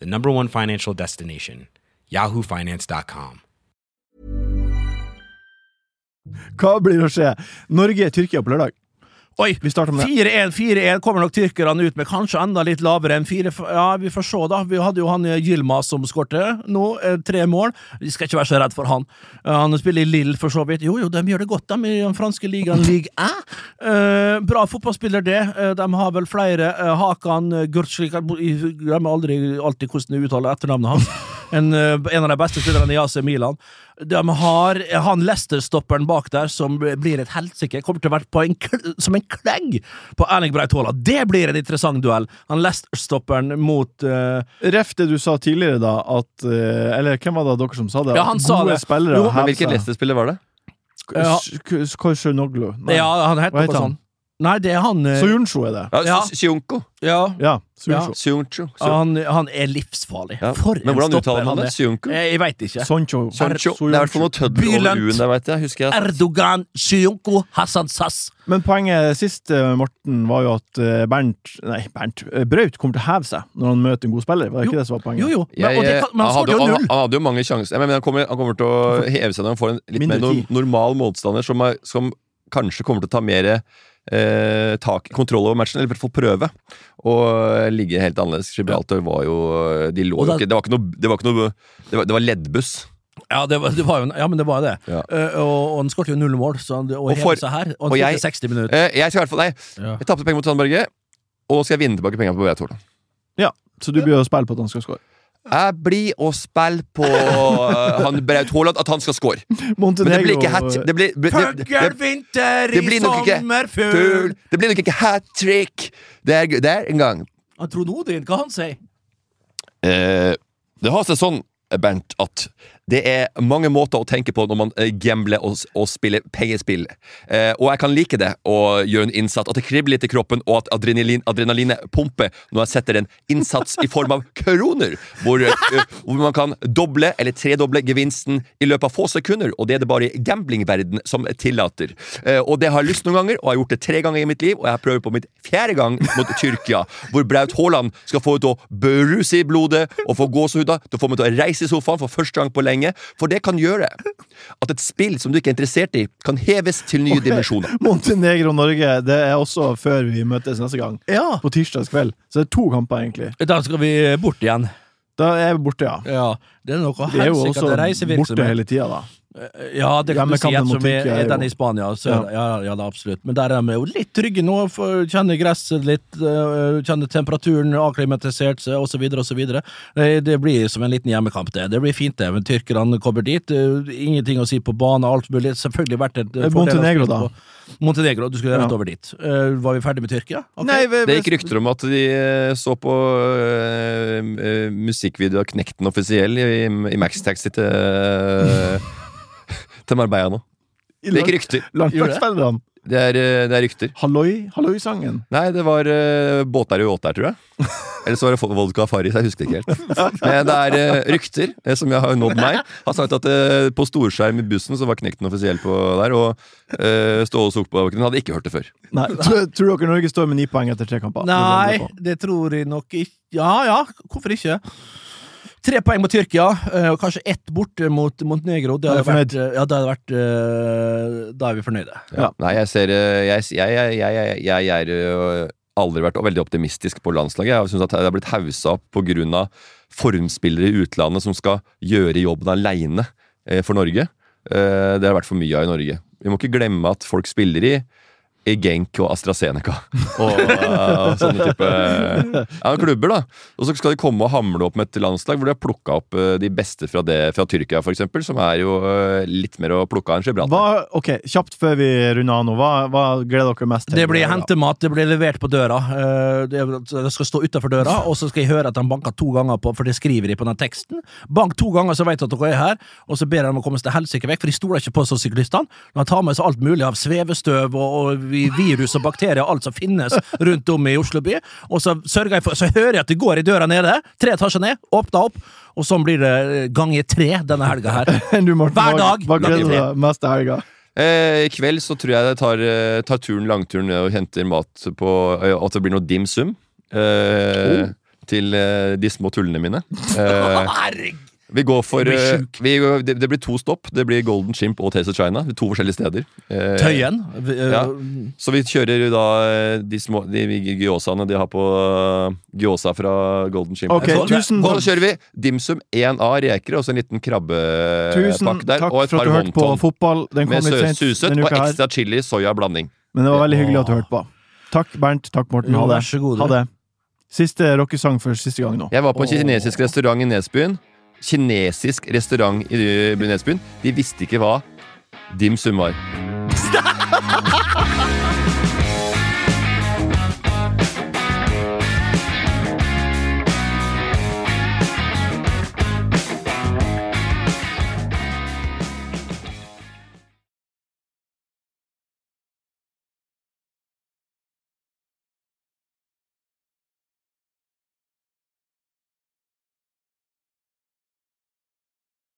[SPEAKER 6] the number one financial destination, yahoofinance.com.
[SPEAKER 5] Hva blir å skje? Norge-Tyrkia på lørdag.
[SPEAKER 1] Oi!
[SPEAKER 5] Vi starter med det.
[SPEAKER 1] 4-1, 4-1 kommer nok tyrkerne ut med, kanskje enda litt lavere enn 4 Ja, vi får se, da. Vi hadde jo han eh, Yilmaz som skårte nå, eh, tre mål. Vi skal ikke være så redd for han. Eh, Han spiller i Lille, for så vidt. Jo, jo, de gjør det godt, de, i den franske
[SPEAKER 5] (laughs)
[SPEAKER 1] ligaen Ligue 1. Eh, bra fotballspiller, det. Eh, de har vel flere. Eh, Hakan eh, Gürtschlik jeg bo- jeg Glemmer aldri alltid hvordan jeg uttaler etternavnet
[SPEAKER 5] (laughs)
[SPEAKER 1] hans. En, eh, en av de beste spillerne i AC Milan. De har eh, han Leicester-stopperen bak der, som blir et helsike. Kommer til å være på en, kl- som en klegg på Erling Braut Haaland. Det blir en interessant duell! Han Leicester-stopperen mot eh,
[SPEAKER 5] Ref det du sa tidligere, da, at eh, Eller hvem var det dere som sa det?
[SPEAKER 1] Ja, han
[SPEAKER 5] Gode
[SPEAKER 1] sa det.
[SPEAKER 5] spillere.
[SPEAKER 1] Jo, men
[SPEAKER 2] Men hvilket Leicester-spiller var det?
[SPEAKER 1] Ja.
[SPEAKER 5] Korsjonoglu.
[SPEAKER 1] Ja, han
[SPEAKER 5] Hva
[SPEAKER 1] heter
[SPEAKER 5] heter
[SPEAKER 1] noe
[SPEAKER 5] han?
[SPEAKER 1] sånn. Nei, det er han eh,
[SPEAKER 5] Soyuncu er det.
[SPEAKER 1] Ja.
[SPEAKER 2] Ja, Ah, Sjunko.
[SPEAKER 1] ja,
[SPEAKER 5] Ja. Soyuncu.
[SPEAKER 2] Sjuncho.
[SPEAKER 1] han, han er livsfarlig.
[SPEAKER 2] Ja.
[SPEAKER 1] For
[SPEAKER 2] Men
[SPEAKER 1] en
[SPEAKER 2] hvordan
[SPEAKER 1] stopper
[SPEAKER 2] uttaler man
[SPEAKER 1] han
[SPEAKER 2] det?
[SPEAKER 1] er.
[SPEAKER 2] Sjunko?
[SPEAKER 1] Eh, Jeg veit ikke.
[SPEAKER 5] Soncho.
[SPEAKER 2] Sancho. Det er i hvert fall noe tøddel over
[SPEAKER 1] Bylent.
[SPEAKER 2] u-en der, veit jeg. Husker jeg. at-
[SPEAKER 1] Erdogan Sjunko Hassan Sass.
[SPEAKER 5] Men poenget sist, eh, Morten, var jo at eh, Bernt Nei, Bernt. eh, Braut kommer til å heve seg når han møter en god spiller. Var det
[SPEAKER 1] Jo.
[SPEAKER 5] ikke det som var poenget?
[SPEAKER 1] Jo, jo. Men,
[SPEAKER 2] Jeg,
[SPEAKER 1] og det,
[SPEAKER 2] eh,
[SPEAKER 1] kan- men han
[SPEAKER 2] hadde,
[SPEAKER 1] skårte jo
[SPEAKER 2] han,
[SPEAKER 1] null!
[SPEAKER 2] han hadde jo mange sjanser. Jeg mener, han, kommer, han kommer til å heve seg når han får en litt
[SPEAKER 5] Mindre
[SPEAKER 2] mer no,
[SPEAKER 5] tid.
[SPEAKER 2] normal motstander som, er, som kanskje kommer til å ta mer eh, tak, kontroll over matchen, eller i hvert fall prøve å ligge helt annerledes. Gibraltar var jo eh, de lå
[SPEAKER 1] Og
[SPEAKER 2] jo
[SPEAKER 1] da-
[SPEAKER 2] ikke, Det var ikke noe Det var, ikke noe, det var, det var leddbuss.
[SPEAKER 1] Ja, det var, det var jo, ja, men det var det.
[SPEAKER 2] Ja.
[SPEAKER 1] Eh, og, og han skårte jo null mål, så han, og,
[SPEAKER 2] Og for-
[SPEAKER 1] heve seg her. Og
[SPEAKER 2] og
[SPEAKER 1] han
[SPEAKER 2] jeg-
[SPEAKER 1] spilte 60 minutter.
[SPEAKER 2] Eh, jeg skal i hvert fall Nei,
[SPEAKER 1] Ja.
[SPEAKER 2] jeg tapte penger mot Sandberge, og skal jeg vinne tilbake pengene på Beat Haaland.
[SPEAKER 5] Så du begynner å spille på at han skal score.
[SPEAKER 2] Jeg blir å spille på eh, han Braut Haaland at han skal
[SPEAKER 1] (laughs)
[SPEAKER 2] score. Men det blir ikke hat Det blir, det, det, det,
[SPEAKER 1] Pøgger vinter
[SPEAKER 2] det blir
[SPEAKER 1] i
[SPEAKER 2] nok ikke
[SPEAKER 1] sommerfugl
[SPEAKER 2] Full. Det blir nok ikke hat trick. Det er, det er en gang.
[SPEAKER 1] Han trodde Odin, hva han sier?
[SPEAKER 2] Eh, det har seg sånn, Bernt, at det er mange måter å tenke på når man eh, gambler og, s- og spiller pengespill. Eh, og jeg kan like det å gjøre en innsats, at det kribler litt i kroppen, og at adrenalin, adrenalinet pumper når jeg setter en innsats i form av kroner, hvor, eh, (laughs) hvor man kan doble eller tredoble gevinsten i løpet av få sekunder, og det er det bare i gamblingverden som tillater. Eh, og det har jeg lyst noen ganger, og jeg har gjort det tre ganger i mitt liv, og jeg prøver på mitt fjerde gang mot Tyrkia, hvor Braut Haaland skal få ut å beruse i blodet og få gåsehuda til å få meg til å reise i sofaen for første gang på lenge, for det kan gjøre at et spill som du ikke er interessert i, kan heves til nye dimensjoner.
[SPEAKER 5] Montenegro-Norge, det er også før vi møtes neste gang.
[SPEAKER 1] Ja.
[SPEAKER 5] På tirsdags kveld. Så det er to kamper, egentlig.
[SPEAKER 1] Da skal vi bort igjen.
[SPEAKER 5] Da er vi borte, ja.
[SPEAKER 1] Ja, Det er noe
[SPEAKER 5] Vi er jo også
[SPEAKER 1] helsikete
[SPEAKER 5] borte
[SPEAKER 1] reisevirksomhet.
[SPEAKER 5] hele tida, da.
[SPEAKER 1] Eh, Ja, det kan du si,
[SPEAKER 5] Hjemmekampen mot
[SPEAKER 1] ettersom vi
[SPEAKER 5] Tyrkia er
[SPEAKER 1] er
[SPEAKER 5] jo-
[SPEAKER 1] den i Spania. Så, ja.
[SPEAKER 5] Ja.
[SPEAKER 1] Ja, da, absolutt. Men der er vi jo litt trygge nå. for- Kjenner gresset litt, øh, kjenner temperaturen, akklimatisert seg osv. Eh, Det blir som en liten hjemmekamp, det. Det blir fint, det. Men tyrkerne kommer dit. øh, Ingenting å si på bane, alt mulig. Selvfølgelig vært et øh,
[SPEAKER 5] Eh,
[SPEAKER 1] fordel å
[SPEAKER 5] Montenegro,
[SPEAKER 1] spille
[SPEAKER 5] da.
[SPEAKER 1] på. Montenegro, du skulle
[SPEAKER 5] Ja.
[SPEAKER 1] rett over dit. Eh, var vi ferdig med Tyrkia? Ok.
[SPEAKER 2] Det gikk rykter om at de eh, så på eh, eh, musikkvideo av Knekten offisiell i, i Maxtaxi til, eh, til Marbella nå. Det gikk rykter.
[SPEAKER 5] Landslagsspillerne.
[SPEAKER 2] Det er, eh, det er rykter.
[SPEAKER 5] Halloi, halloi-sangen.
[SPEAKER 2] Nei, det var uh, båter og åter, tror jeg. Eller så var det fo- vodka og Farris, jeg husker ikke helt. Men det er eh, rykter, det som jeg har nådd meg. Har sagt at eh, på storskjerm i bussen så var Knekten offisiell på der, og uh, Ståle Solbakken hadde ikke hørt det før.
[SPEAKER 3] (laughs)
[SPEAKER 5] Nei, tror, tror dere Norge står med ni poeng etter tre kamper?
[SPEAKER 1] Nei, det tror jeg nok ikke. Ja ja, hvorfor ikke? Tre poeng mot Tyrkia, eh, og kanskje ett borte mot Montenegro. Det
[SPEAKER 5] Da er
[SPEAKER 1] hadde
[SPEAKER 5] vi
[SPEAKER 1] vært, eh, ja, det hadde vært eh, Da er vi fornøyde.
[SPEAKER 5] Ja.
[SPEAKER 2] Nei, jeg ser eh, Jeg, jeg, jeg, jeg, jeg, jeg er eh, aldri vært veldig optimistisk på landslaget. Jeg synes at det har blitt haussa opp pga. formspillere i utlandet som skal gjøre jobben aleine for Norge. Eh, Det har vært for mye av i Norge. Vi må ikke glemme at folk spiller i i Genk og AstraZeneca (laughs) og eh, sånne type eh, ja, klubber. da Og så skal de komme og hamle opp med et landslag hvor de har plukka opp eh, de beste fra, det, fra Tyrkia, f.eks., som er jo eh, litt mer å plukke av enn Gibraltar.
[SPEAKER 5] Hva, ok, Kjapt før vi runder av nå, hva, hva gleder dere mest til?
[SPEAKER 1] Det blir
[SPEAKER 5] Ja.
[SPEAKER 1] hentemat, det blir levert på døra. eh, Det det skal stå utafor døra, og så skal jeg høre at de banker to ganger på, for det skriver de på den teksten. Bank to ganger, så vet jeg at dere er her, og så ber jeg dem å komme seg til helsike vekk, for de stoler ikke på oss som syklistene. De tar med seg alt mulig av svevestøv og, og vi- virus og bakterier, alt som finnes rundt om i Oslo by, og så sørger jeg for Så hører jeg at det går i døra nede, tre etasjer ned, åpner opp, og sånn blir det ganger tre denne helga her.
[SPEAKER 5] (laughs) Du, Morten,
[SPEAKER 1] Hver
[SPEAKER 5] hva-
[SPEAKER 1] dag.
[SPEAKER 5] Hva gleder du
[SPEAKER 1] Lange
[SPEAKER 5] deg mest til helga?
[SPEAKER 2] Eh, I kveld så tror jeg jeg tar, eh, tar turen langturen ned og henter mat på eh, At det blir noe dim
[SPEAKER 3] Oh. (laughs)
[SPEAKER 2] sum. Eh, Til eh, de små tullene mine. Eh,
[SPEAKER 1] Herregud!
[SPEAKER 2] Vi går for
[SPEAKER 1] Blir
[SPEAKER 2] eh,
[SPEAKER 1] sjuk.
[SPEAKER 2] vi, går- det, det blir to stopp. Det blir Golden Chimp og Taste of China. To forskjellige steder. Eh,
[SPEAKER 1] Tøyen. Vi, eh,
[SPEAKER 2] Ja. Så vi kjører jo da eh, de små de gyosaene de har på eh, Gyosa fra Golden Chimp.
[SPEAKER 3] Ok,
[SPEAKER 1] Jeg tror det-
[SPEAKER 3] tusen
[SPEAKER 2] Og
[SPEAKER 3] takk.
[SPEAKER 2] så kjører vi dimsum 1A reker og så en liten
[SPEAKER 1] Eh,
[SPEAKER 3] Tusen
[SPEAKER 2] krabbepakke der.
[SPEAKER 3] takk
[SPEAKER 2] og et
[SPEAKER 3] for at
[SPEAKER 2] par
[SPEAKER 3] du hørte på
[SPEAKER 2] wonton
[SPEAKER 3] fotball. Den kom
[SPEAKER 2] med sø-
[SPEAKER 3] litt sent
[SPEAKER 2] susøt
[SPEAKER 3] denne
[SPEAKER 2] og
[SPEAKER 3] uka her,
[SPEAKER 2] ekstra chili soya-blanding.
[SPEAKER 3] men det var veldig hyggelig at du hørte på. Takk, Bernt. Takk, Morten.
[SPEAKER 1] Jo,
[SPEAKER 3] Ha
[SPEAKER 1] vær
[SPEAKER 3] det.
[SPEAKER 1] så god, du.
[SPEAKER 3] Ha det. Siste rockesang for siste gang nå.
[SPEAKER 2] Jeg var på en kinesisk restaurant i Nesbyen. Kinesisk restaurant i ø, Nesbyen. De visste ikke hva dimsum var.